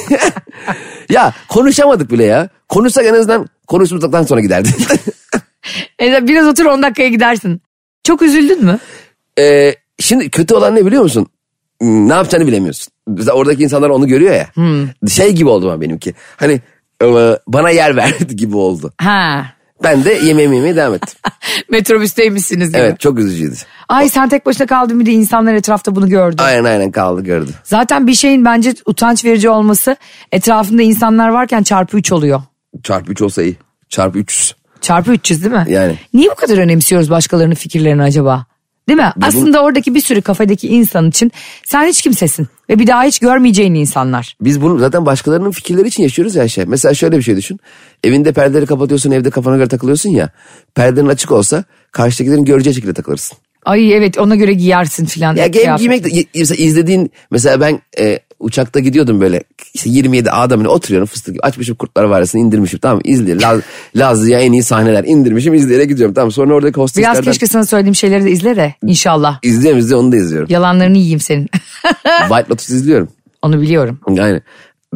Speaker 3: ya konuşamadık bile ya. Konuşsak en azından konuşmadıktan sonra giderdi.
Speaker 2: E, biraz otur 10 dakikaya gidersin. Çok üzüldün mü?
Speaker 3: Ee, şimdi kötü olan ne biliyor musun? Hmm, Ne yapacağını bilemiyorsun. Biz- Oradaki insanlar onu görüyor ya. Şey gibi oldu ama benimki. Hani e, bana yer verdi gibi oldu.
Speaker 2: Ha.
Speaker 3: Ben de yemeğimi yemeye devam ettim.
Speaker 2: Metrobüsteymişsiniz gibi.
Speaker 3: evet çok üzücüydü.
Speaker 2: Ay sen tek başına kaldın bir de insanlar etrafta bunu gördü.
Speaker 3: Aynen aynen kaldı gördü.
Speaker 2: Zaten bir şeyin bence utanç verici olması etrafında insanlar varken çarpı 3 oluyor.
Speaker 3: Çarpı 3 olsa iyi. Çarpı 300.
Speaker 2: Çarpı 300 değil mi?
Speaker 3: Yani.
Speaker 2: Niye bu kadar önemsiyoruz başkalarının fikirlerini acaba? Değil mi? Aslında oradaki bir sürü kafedeki insan için sen hiç kimsesin. Ve bir daha hiç görmeyeceğin insanlar.
Speaker 3: Biz bunu zaten başkalarının fikirleri için yaşıyoruz ya şey. Mesela şöyle bir şey düşün. Evinde perdeleri kapatıyorsun evde kafana göre takılıyorsun ya. Perdenin açık olsa karşıdakilerin göreceği şekilde takılırsın.
Speaker 2: Ay evet ona göre giyersin filan.
Speaker 3: Ya game
Speaker 2: Kıyafet.
Speaker 3: giymek de y- mesela izlediğin mesela ben e, uçakta gidiyordum böyle işte 27 A'da mı ne oturuyorum fıstık gibi açmışım kurtlar varisini indirmişim tamam mı? izle Laz, Lazlı'ya en iyi sahneler indirmişim izleyerek gidiyorum tamam sonra oradaki
Speaker 2: Biraz
Speaker 3: hosteslerden
Speaker 2: keşke sana söylediğim şeyleri de izle de inşallah.
Speaker 3: izliyorum izliyorum onu da izliyorum.
Speaker 2: Yalanlarını yiyeyim senin.
Speaker 3: White Lotus izliyorum.
Speaker 2: onu biliyorum.
Speaker 3: Yani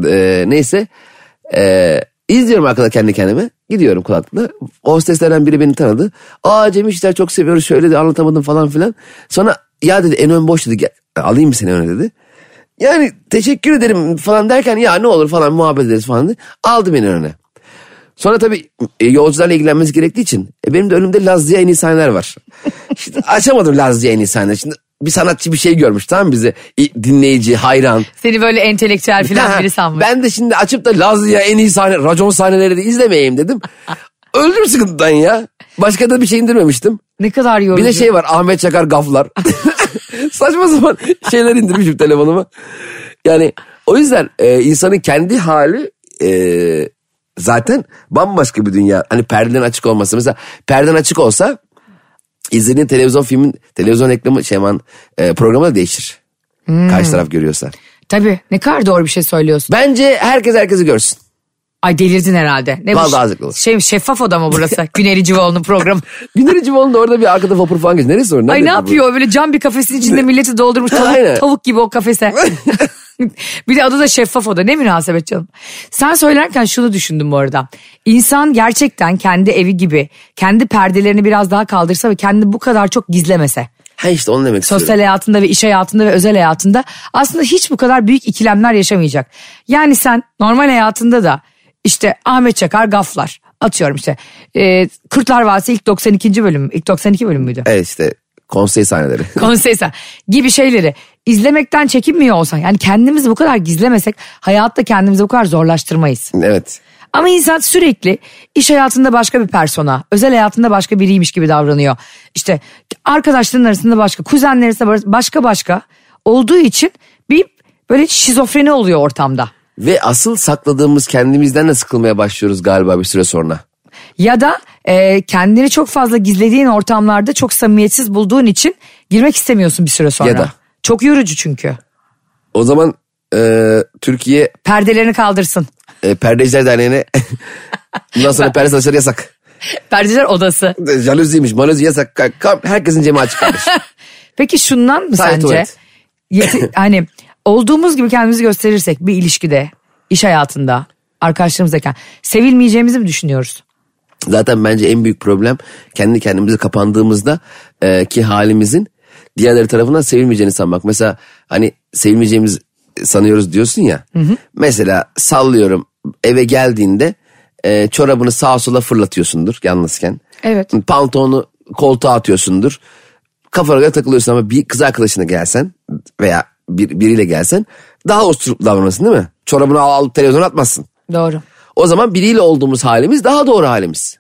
Speaker 3: e, neyse e, izliyorum arkada kendi kendime gidiyorum kulaklıkla hosteslerden biri beni tanıdı. Aa Cem İşler çok seviyoruz şöyle de anlatamadım falan filan. Sonra ya dedi en ön boş dedi "Gel, alayım mı seni öne dedi. Yani teşekkür ederim falan derken ya ne olur falan muhabbet ederiz falan dedi. Aldı beni önüne. Sonra tabii e, yolcularla ilgilenmesi gerektiği için e, benim de önümde Lazlı'ya en iyi sahneler var. Şimdi açamadım Lazlı'ya en iyi sahneleri. Şimdi bir sanatçı bir şey görmüş tamam mı bize İ- dinleyici hayran.
Speaker 2: Seni böyle entelektüel
Speaker 3: Ha,
Speaker 2: falan biri sanmış.
Speaker 3: Ben de şimdi açıp da Lazlı'ya en iyi sahne, racon sahneleri de izlemeyeyim dedim. Öldüm sıkıntıdan ya. Başka da bir şey indirmemiştim.
Speaker 2: Ne kadar yorucu.
Speaker 3: Bir de şey var Ahmet Çakar gaflar. Saçma sapan şeyler indirmişim telefonuma. Yani o yüzden e, insanın kendi hali e, zaten bambaşka bir dünya. Hani perden açık olması. Mesela perden açık olsa izlediğin televizyon filmin televizyon reklamı şey aman, e, programı da değişir.
Speaker 2: Hmm.
Speaker 3: Karşı taraf görüyorsa.
Speaker 2: Tabii ne kadar doğru bir şey söylüyorsun.
Speaker 3: Bence herkes herkesi görsün.
Speaker 2: Ay delirdin herhalde. Ne
Speaker 3: Vallahi
Speaker 2: bu?
Speaker 3: azıcık olur.
Speaker 2: Şey, şeffaf oda mı burası? Güneri Civoğlu'nun programı.
Speaker 3: Güner Civoğlu'nun da orada bir arkada vapur falan geçiyor. Neresi orası?
Speaker 2: Ay ne
Speaker 3: Nerede bu?
Speaker 2: yapıyor böyle cam bir kafesin içinde milleti doldurmuş
Speaker 3: Aynen.
Speaker 2: tavuk, tavuk gibi o kafese. bir de adı da şeffaf oda ne münasebet canım. Sen söylerken şunu düşündüm bu arada. İnsan gerçekten kendi evi gibi kendi perdelerini biraz daha kaldırsa ve kendini bu kadar çok gizlemese.
Speaker 3: Ha işte onu demek istiyorum.
Speaker 2: Sosyal hayatında ve iş hayatında ve özel hayatında aslında hiç bu kadar büyük ikilemler yaşamayacak. Yani sen normal hayatında da işte Ahmet Çakar gaflar atıyorum işte. E, Kurtlar Vadisi ilk 92. bölüm ilk 92 bölüm müydü?
Speaker 3: Evet E, işte konsey sahneleri.
Speaker 2: konseysen gibi şeyleri izlemekten çekinmiyor olsan yani kendimizi bu kadar gizlemesek hayatta kendimizi bu kadar zorlaştırmayız.
Speaker 3: evet.
Speaker 2: Ama insan sürekli iş hayatında başka bir persona, özel hayatında başka biriymiş gibi davranıyor. İşte arkadaşların arasında başka, kuzenler arasında başka başka olduğu için bir böyle şizofreni oluyor ortamda.
Speaker 3: Ve asıl sakladığımız kendimizden de sıkılmaya başlıyoruz galiba bir süre sonra.
Speaker 2: Ya da e, kendini çok fazla gizlediğin ortamlarda çok samimiyetsiz bulduğun için girmek istemiyorsun bir süre sonra.
Speaker 3: Ya da.
Speaker 2: Çok yorucu çünkü.
Speaker 3: O zaman e, Türkiye
Speaker 2: Perdelerini kaldırsın.
Speaker 3: e, Perdeciler Derneği'ne bundan sonra perde satışları yasak.
Speaker 2: Perdeciler odası.
Speaker 3: Jaloziymiş, malozi yasak. Ka- ka- Herkesin cemi açık kalmış.
Speaker 2: Peki şundan mı
Speaker 3: Sadece
Speaker 2: sence?
Speaker 3: tuvalet.
Speaker 2: Yeti- hani olduğumuz gibi kendimizi gösterirsek bir ilişkide, iş hayatında, arkadaşlarımızdayken sevilmeyeceğimizi mi düşünüyoruz?
Speaker 3: Zaten bence en büyük problem kendi kendimize kapandığımızda e, ki halimizin diğerleri tarafından sevilmeyeceğini sanmak. Mesela hani sevilmeyeceğimiz sanıyoruz diyorsun ya. Mesela sallıyorum eve geldiğinde e, çorabını sağa sola fırlatıyorsundur yalnızken.
Speaker 2: Evet.
Speaker 3: Pantolonu koltuğa atıyorsundur. Kafana göre takılıyorsun ama bir kız arkadaşına gelsen veya bir, biriyle gelsen daha osuruklu davranırsın değil mi? Çorabını al, al televizyona atmazsın.
Speaker 2: Doğru.
Speaker 3: O zaman biriyle olduğumuz halimiz daha doğru halimiz.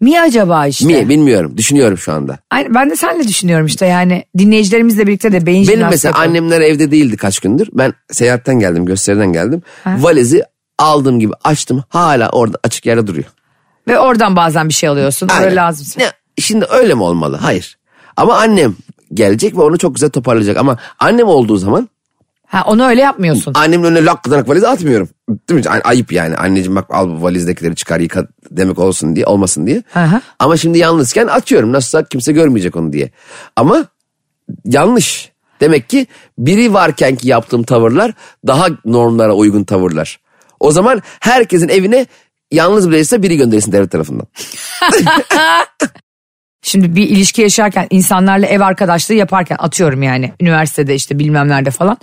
Speaker 2: Mi acaba işte?
Speaker 3: Mi bilmiyorum. Düşünüyorum şu anda.
Speaker 2: Aynı- ben de senle düşünüyorum işte yani dinleyicilerimizle birlikte de beyin
Speaker 3: Benim
Speaker 2: jimnastiği
Speaker 3: mesela
Speaker 2: yapalım.
Speaker 3: annemler evde değildi kaç gündür. Ben seyahatten geldim, gösteriden geldim. Valizi aldığım gibi açtım. Hala orada açık yerde duruyor.
Speaker 2: Ve oradan bazen bir şey alıyorsun.
Speaker 3: Aynen.
Speaker 2: Böyle lazım.
Speaker 3: Ne, şimdi öyle mi olmalı? Hayır. Ama annem gelecek ve onu çok güzel toparlayacak. Ama annem olduğu zaman
Speaker 2: Ha, onu öyle yapmıyorsun.
Speaker 3: annemin önüne lak kızarak valizi atmıyorum. Değil mi? Ay- Ayıp yani. Anneciğim bak al bu valizdekileri çıkar yıka demek olsun diye olmasın diye.
Speaker 2: Aha.
Speaker 3: Ama şimdi yalnızken atıyorum. Nasılsa kimse görmeyecek onu diye. Ama yanlış. Demek ki biri varken ki yaptığım tavırlar daha normlara uygun tavırlar. O zaman herkesin evine yalnız bireyse biri gönderilsin devlet tarafından.
Speaker 2: Şimdi bir ilişki yaşarken insanlarla ev arkadaşlığı yaparken atıyorum yani üniversitede işte bilmem nerede falan.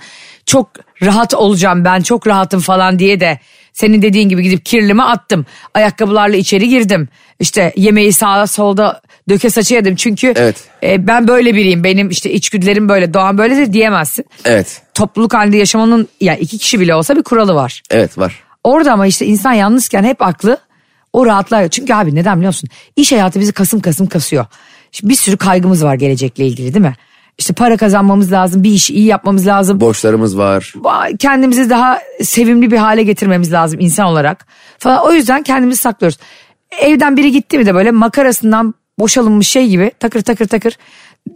Speaker 2: Çok rahat olacağım ben çok rahatım falan diye de senin dediğin gibi gidip kirlimi attım. Ayakkabılarla içeri girdim. İşte yemeği sağa solda döke saça yedim. Çünkü
Speaker 3: Evet.
Speaker 2: e, ben böyle biriyim benim işte içgüdülerim böyle doğan böyle de diyemezsin.
Speaker 3: Evet.
Speaker 2: Topluluk halinde yaşamanın ya iki kişi bile olsa bir kuralı var.
Speaker 3: Evet var.
Speaker 2: Orada ama işte insan yalnızken hep aklı o rahatlar. Çünkü abi neden biliyor musun? İş hayatı bizi kasım kasım kasıyor. Şimdi bir sürü kaygımız var gelecekle ilgili değil mi? İşte para kazanmamız lazım, bir işi iyi yapmamız lazım.
Speaker 3: Borçlarımız var.
Speaker 2: Ba- Kendimizi daha sevimli bir hale getirmemiz lazım insan olarak. Falan. O yüzden kendimizi saklıyoruz. Evden biri gitti mi de böyle makarasından boşalınmış şey gibi takır takır takır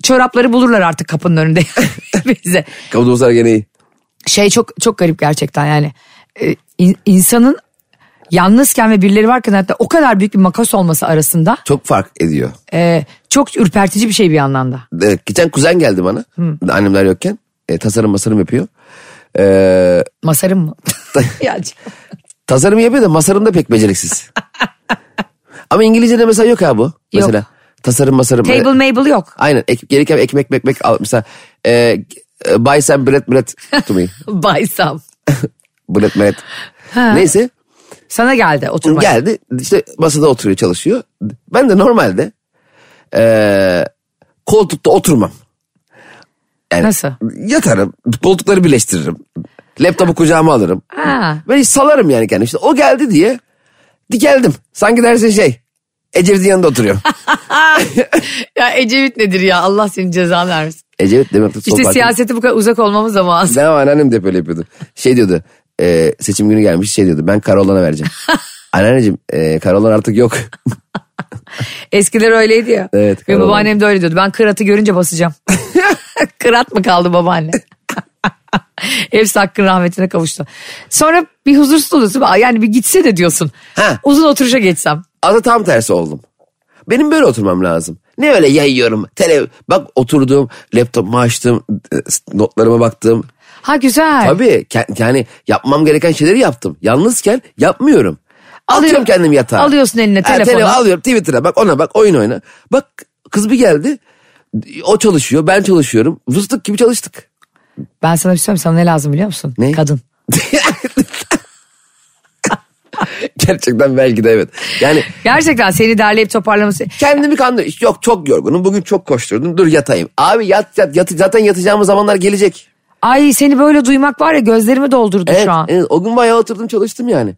Speaker 2: çorapları bulurlar artık kapının önünde bize
Speaker 3: Kavudumuzlar gene iyi.
Speaker 2: şey çok çok garip gerçekten yani Ee, in- insanın yalnızken ve birileri varken hatta o kadar büyük bir makas olması arasında
Speaker 3: Çok fark ediyor.
Speaker 2: e, çok ürpertici bir şey bir yandan da.
Speaker 3: Evet, Ee, geçen kuzen geldi bana. Annemler yokken. E, tasarım masarım yapıyor. E,
Speaker 2: Masarım mı? ya,
Speaker 3: tasarım yapıyor da masarım da pek beceriksiz. Ama İngilizce'de mesela yok ha bu. Mesela tasarım masarım. e,
Speaker 2: table mable yok.
Speaker 3: Aynen. Ek, gereken ekmek mekmek al. Mesela e, e, buy some bread bread to me.
Speaker 2: Baysam.
Speaker 3: bread bread. Neyse
Speaker 2: Sana geldi oturmaya.
Speaker 3: geldi işte masada oturuyor çalışıyor. Ben de normalde e, koltukta oturmam. Yani
Speaker 2: Nasıl?
Speaker 3: Yatarım, koltukları birleştiririm. Laptopu kucağıma alırım.
Speaker 2: Ha.
Speaker 3: Ben hiç salarım yani kendimi. İşte o geldi diye dikeldim. Sanki dersin şey, Ecevit'in yanında oturuyor.
Speaker 2: ya Ecevit nedir ya Allah senin cezanı vermesin.
Speaker 3: Ecevit demek ki sol
Speaker 2: İşte
Speaker 3: parti-
Speaker 2: siyaseti bu kadar uzak olmamız ama aslında.
Speaker 3: Benim anneannem de hep öyle yapıyordu. Şey diyordu. e, seçim günü gelmiş şey diyordu. Ben Karolan'a vereceğim. Anneanneciğim e, Karolan artık yok.
Speaker 2: Eskiler öyleydi ya.
Speaker 3: Evet,
Speaker 2: Benim
Speaker 3: karavan.
Speaker 2: babaannem de öyle diyordu. Ben kıratı görünce basacağım. Kırat mı kaldı babaanne? Hepsi hakkın rahmetine kavuştu. Sonra bir huzursuz oluyorsun. Aa, Yani bir gitse de diyorsun.
Speaker 3: Ha.
Speaker 2: Uzun oturuşa geçsem.
Speaker 3: Adı tam tersi oldum. Benim böyle oturmam lazım. Ne öyle yayıyorum. Tele, bak oturdum, laptopumu açtım, e, notlarıma baktım.
Speaker 2: Ha güzel.
Speaker 3: Tabii ke- yani yapmam gereken şeyleri yaptım. Yalnızken yapmıyorum.
Speaker 2: Alıyor-
Speaker 3: Atıyorum kendimi yatağa.
Speaker 2: Alıyorsun eline,
Speaker 3: Ha, tele-
Speaker 2: telefonu.
Speaker 3: alıyorum Twitter'a bak ona bak oyun oyna. Bak kız bir geldi. O çalışıyor ben çalışıyorum. Fıstık gibi çalıştık.
Speaker 2: Ben sana bir şey söyleyeyim sana ne lazım biliyor musun?
Speaker 3: Ne?
Speaker 2: Kadın.
Speaker 3: Gerçekten belki de evet. Yani
Speaker 2: Gerçekten seni derleyip toparlaması.
Speaker 3: kendimi kandır. Yok çok yorgunum. Bugün çok koşturdum. Dur yatayım. Abi yat yat. yat zaten yatacağımız zamanlar gelecek.
Speaker 2: Ay seni böyle duymak var ya gözlerimi doldurdu
Speaker 3: Evet,
Speaker 2: E, şu an.
Speaker 3: evet. O gün bayağı oturdum çalıştım yani.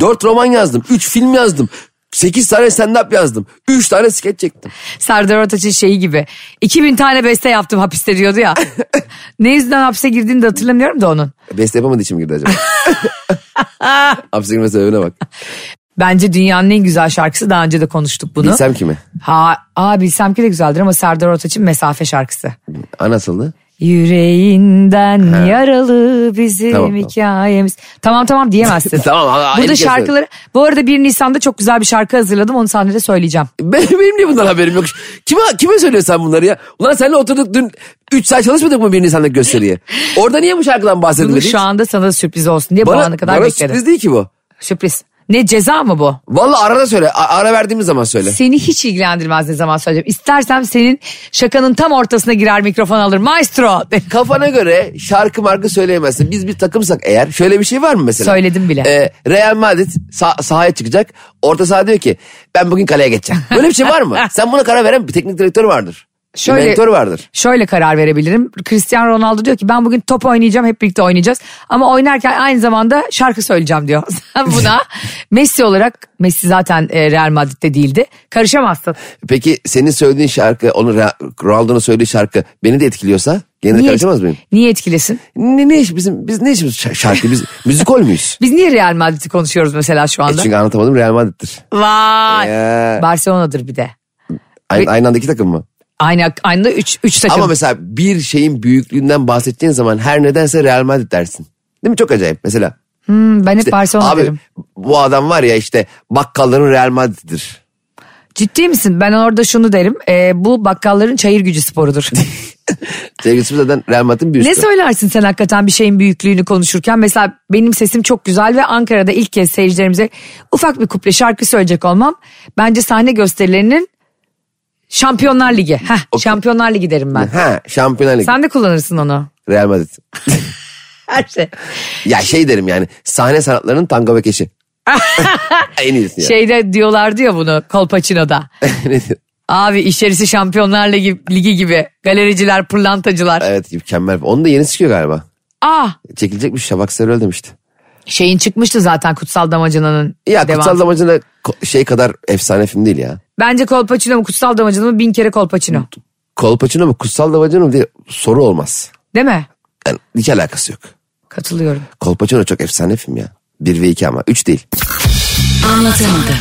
Speaker 3: Dört roman yazdım. Üç film yazdım. Sekiz tane stand-up yazdım. Üç tane skeç çektim.
Speaker 2: Serdar Ortaç'ın şeyi gibi. 2000 tane beste yaptım hapiste diyordu ya. ne yüzden hapse girdiğini de hatırlamıyorum da onun.
Speaker 3: Beste yapamadığı için mi girdi acaba? Hapse girme sebebine bak.
Speaker 2: Bence dünyanın en güzel şarkısı daha önce de konuştuk bunu.
Speaker 3: Bilsem kimi?
Speaker 2: Ha, aa bilsem ki de güzeldir ama Serdar Ortaç'ın mesafe şarkısı.
Speaker 3: Anasıldı.
Speaker 2: Yüreğinden yaralı bizim
Speaker 3: Tamam, tamam.
Speaker 2: hikayemiz. Tamam tamam diyemezsin.
Speaker 3: Tamam, aa,
Speaker 2: Burada
Speaker 3: bir kez
Speaker 2: şarkıları bu arada 1 Nisan'da çok güzel bir şarkı hazırladım onu sahnede söyleyeceğim.
Speaker 3: Ben, benim niye bundan haberim yok? Kime, kime söylüyorsun sen bunları ya? Ulan seninle oturduk dün 3 saat çalışmadık mı bir Nisan'daki gösteriye? Orada niye bu şarkıdan
Speaker 2: Bunu
Speaker 3: bahsedilmedi? hiç?
Speaker 2: şu anda sana da sürpriz olsun diye bu ana kadar
Speaker 3: bana
Speaker 2: bekledim.
Speaker 3: sürpriz değil ki bu.
Speaker 2: Sürpriz. Ne ceza mı bu?
Speaker 3: Vallahi arada söyle. a- ara verdiğimiz zaman söyle.
Speaker 2: Seni hiç ilgilendirmez ne zaman söyleyeceğim. İstersem senin şakanın tam ortasına girer mikrofon alır. Maestro.
Speaker 3: Kafana göre şarkı marka söyleyemezsin. Biz bir takımsak eğer şöyle bir şey var mı mesela?
Speaker 2: Söyledim bile.
Speaker 3: Ee, Real Madrid sah- sahaya çıkacak. Orta saha diyor ki ben bugün kaleye geçeceğim. Böyle bir şey var mı? Sen buna karar veren bir teknik direktör vardır.
Speaker 2: Şöyle-
Speaker 3: Bir mentor vardır.
Speaker 2: Şöyle karar verebilirim. Cristiano Ronaldo diyor ki ben bugün top oynayacağım hep birlikte oynayacağız. Ama oynarken aynı zamanda şarkı söyleyeceğim diyor. Sen buna Messi olarak Messi zaten e, Real Madrid'de değildi. Karışamazsın.
Speaker 3: Peki senin söylediğin şarkı, onu Ra- Ronaldo'nun söylediği şarkı beni de etkiliyorsa gene de karışamaz mıyım?
Speaker 2: niye etkilesin?
Speaker 3: Ne, ne iş bizim biz ne işimiz şa- şarkı biz müzikol muyuz?
Speaker 2: Biz niye Real Madrid'i konuşuyoruz mesela şu
Speaker 3: E
Speaker 2: anda?
Speaker 3: çünkü anlatamadım Real Madrid'dir.
Speaker 2: Vay.
Speaker 3: Ee,
Speaker 2: Barcelona'dır bir de.
Speaker 3: aynı, aynı anda iki takım mı?
Speaker 2: Aynı aynı üç, üç takım.
Speaker 3: Ama mesela bir şeyin büyüklüğünden bahsedeceğin zaman her nedense Real Madrid dersin. Değil mi? Çok acayip mesela.
Speaker 2: Hmm, ben hep
Speaker 3: işte,
Speaker 2: Barcelona
Speaker 3: abi
Speaker 2: derim.
Speaker 3: bu adam var ya işte bakkalların Real Madrid'dir.
Speaker 2: Ciddi misin? Ben orada şunu derim. Ee, bu bakkalların çayır gücü sporudur.
Speaker 3: Sevgilisi zaten Real Madrid'in bir üstü.
Speaker 2: ne söylersin sen hakikaten bir şeyin büyüklüğünü konuşurken? Mesela benim sesim çok güzel ve Ankara'da ilk kez seyircilerimize ufak bir kuple şarkı söyleyecek olmam. Bence sahne gösterilerinin Şampiyonlar Ligi. Heh, Şampiyonlar Ligi derim ben.
Speaker 3: Ha Şampiyonlar Ligi
Speaker 2: Sen de kullanırsın onu.
Speaker 3: Real Madrid.
Speaker 2: Her şey.
Speaker 3: ya şey derim yani sahne sanatlarının tango ve keşi. en iyisi ya.
Speaker 2: Şeyde diyorlardı ya bunu Kolpaçino'da.
Speaker 3: Ne diyor?
Speaker 2: Abi içerisi Şampiyonlar Ligi, Ligi gibi. Galericiler, pırlantacılar.
Speaker 3: evet mükemmel. Onun da yeni çıkıyor galiba.
Speaker 2: Aa,
Speaker 3: Çekilecekmiş Şabak Seröl demişti.
Speaker 2: şeyin çıkmıştı zaten Kutsal Damacana'nın
Speaker 3: Ya
Speaker 2: devamı.
Speaker 3: Kutsal Damacana ko- şey kadar efsane film değil ya.
Speaker 2: Bence Kolpaçino mu Kutsal Damacana mı bin kere Kolpaçino.
Speaker 3: Kolpaçino mu Kutsal Damacana mı diye soru olmaz.
Speaker 2: Değil mi?
Speaker 3: Yani hiç alakası yok.
Speaker 2: Katılıyorum.
Speaker 3: Kolpaçino çok efsane film ya. 1 ve 2 ama 3 değil.
Speaker 4: Anlatamadım.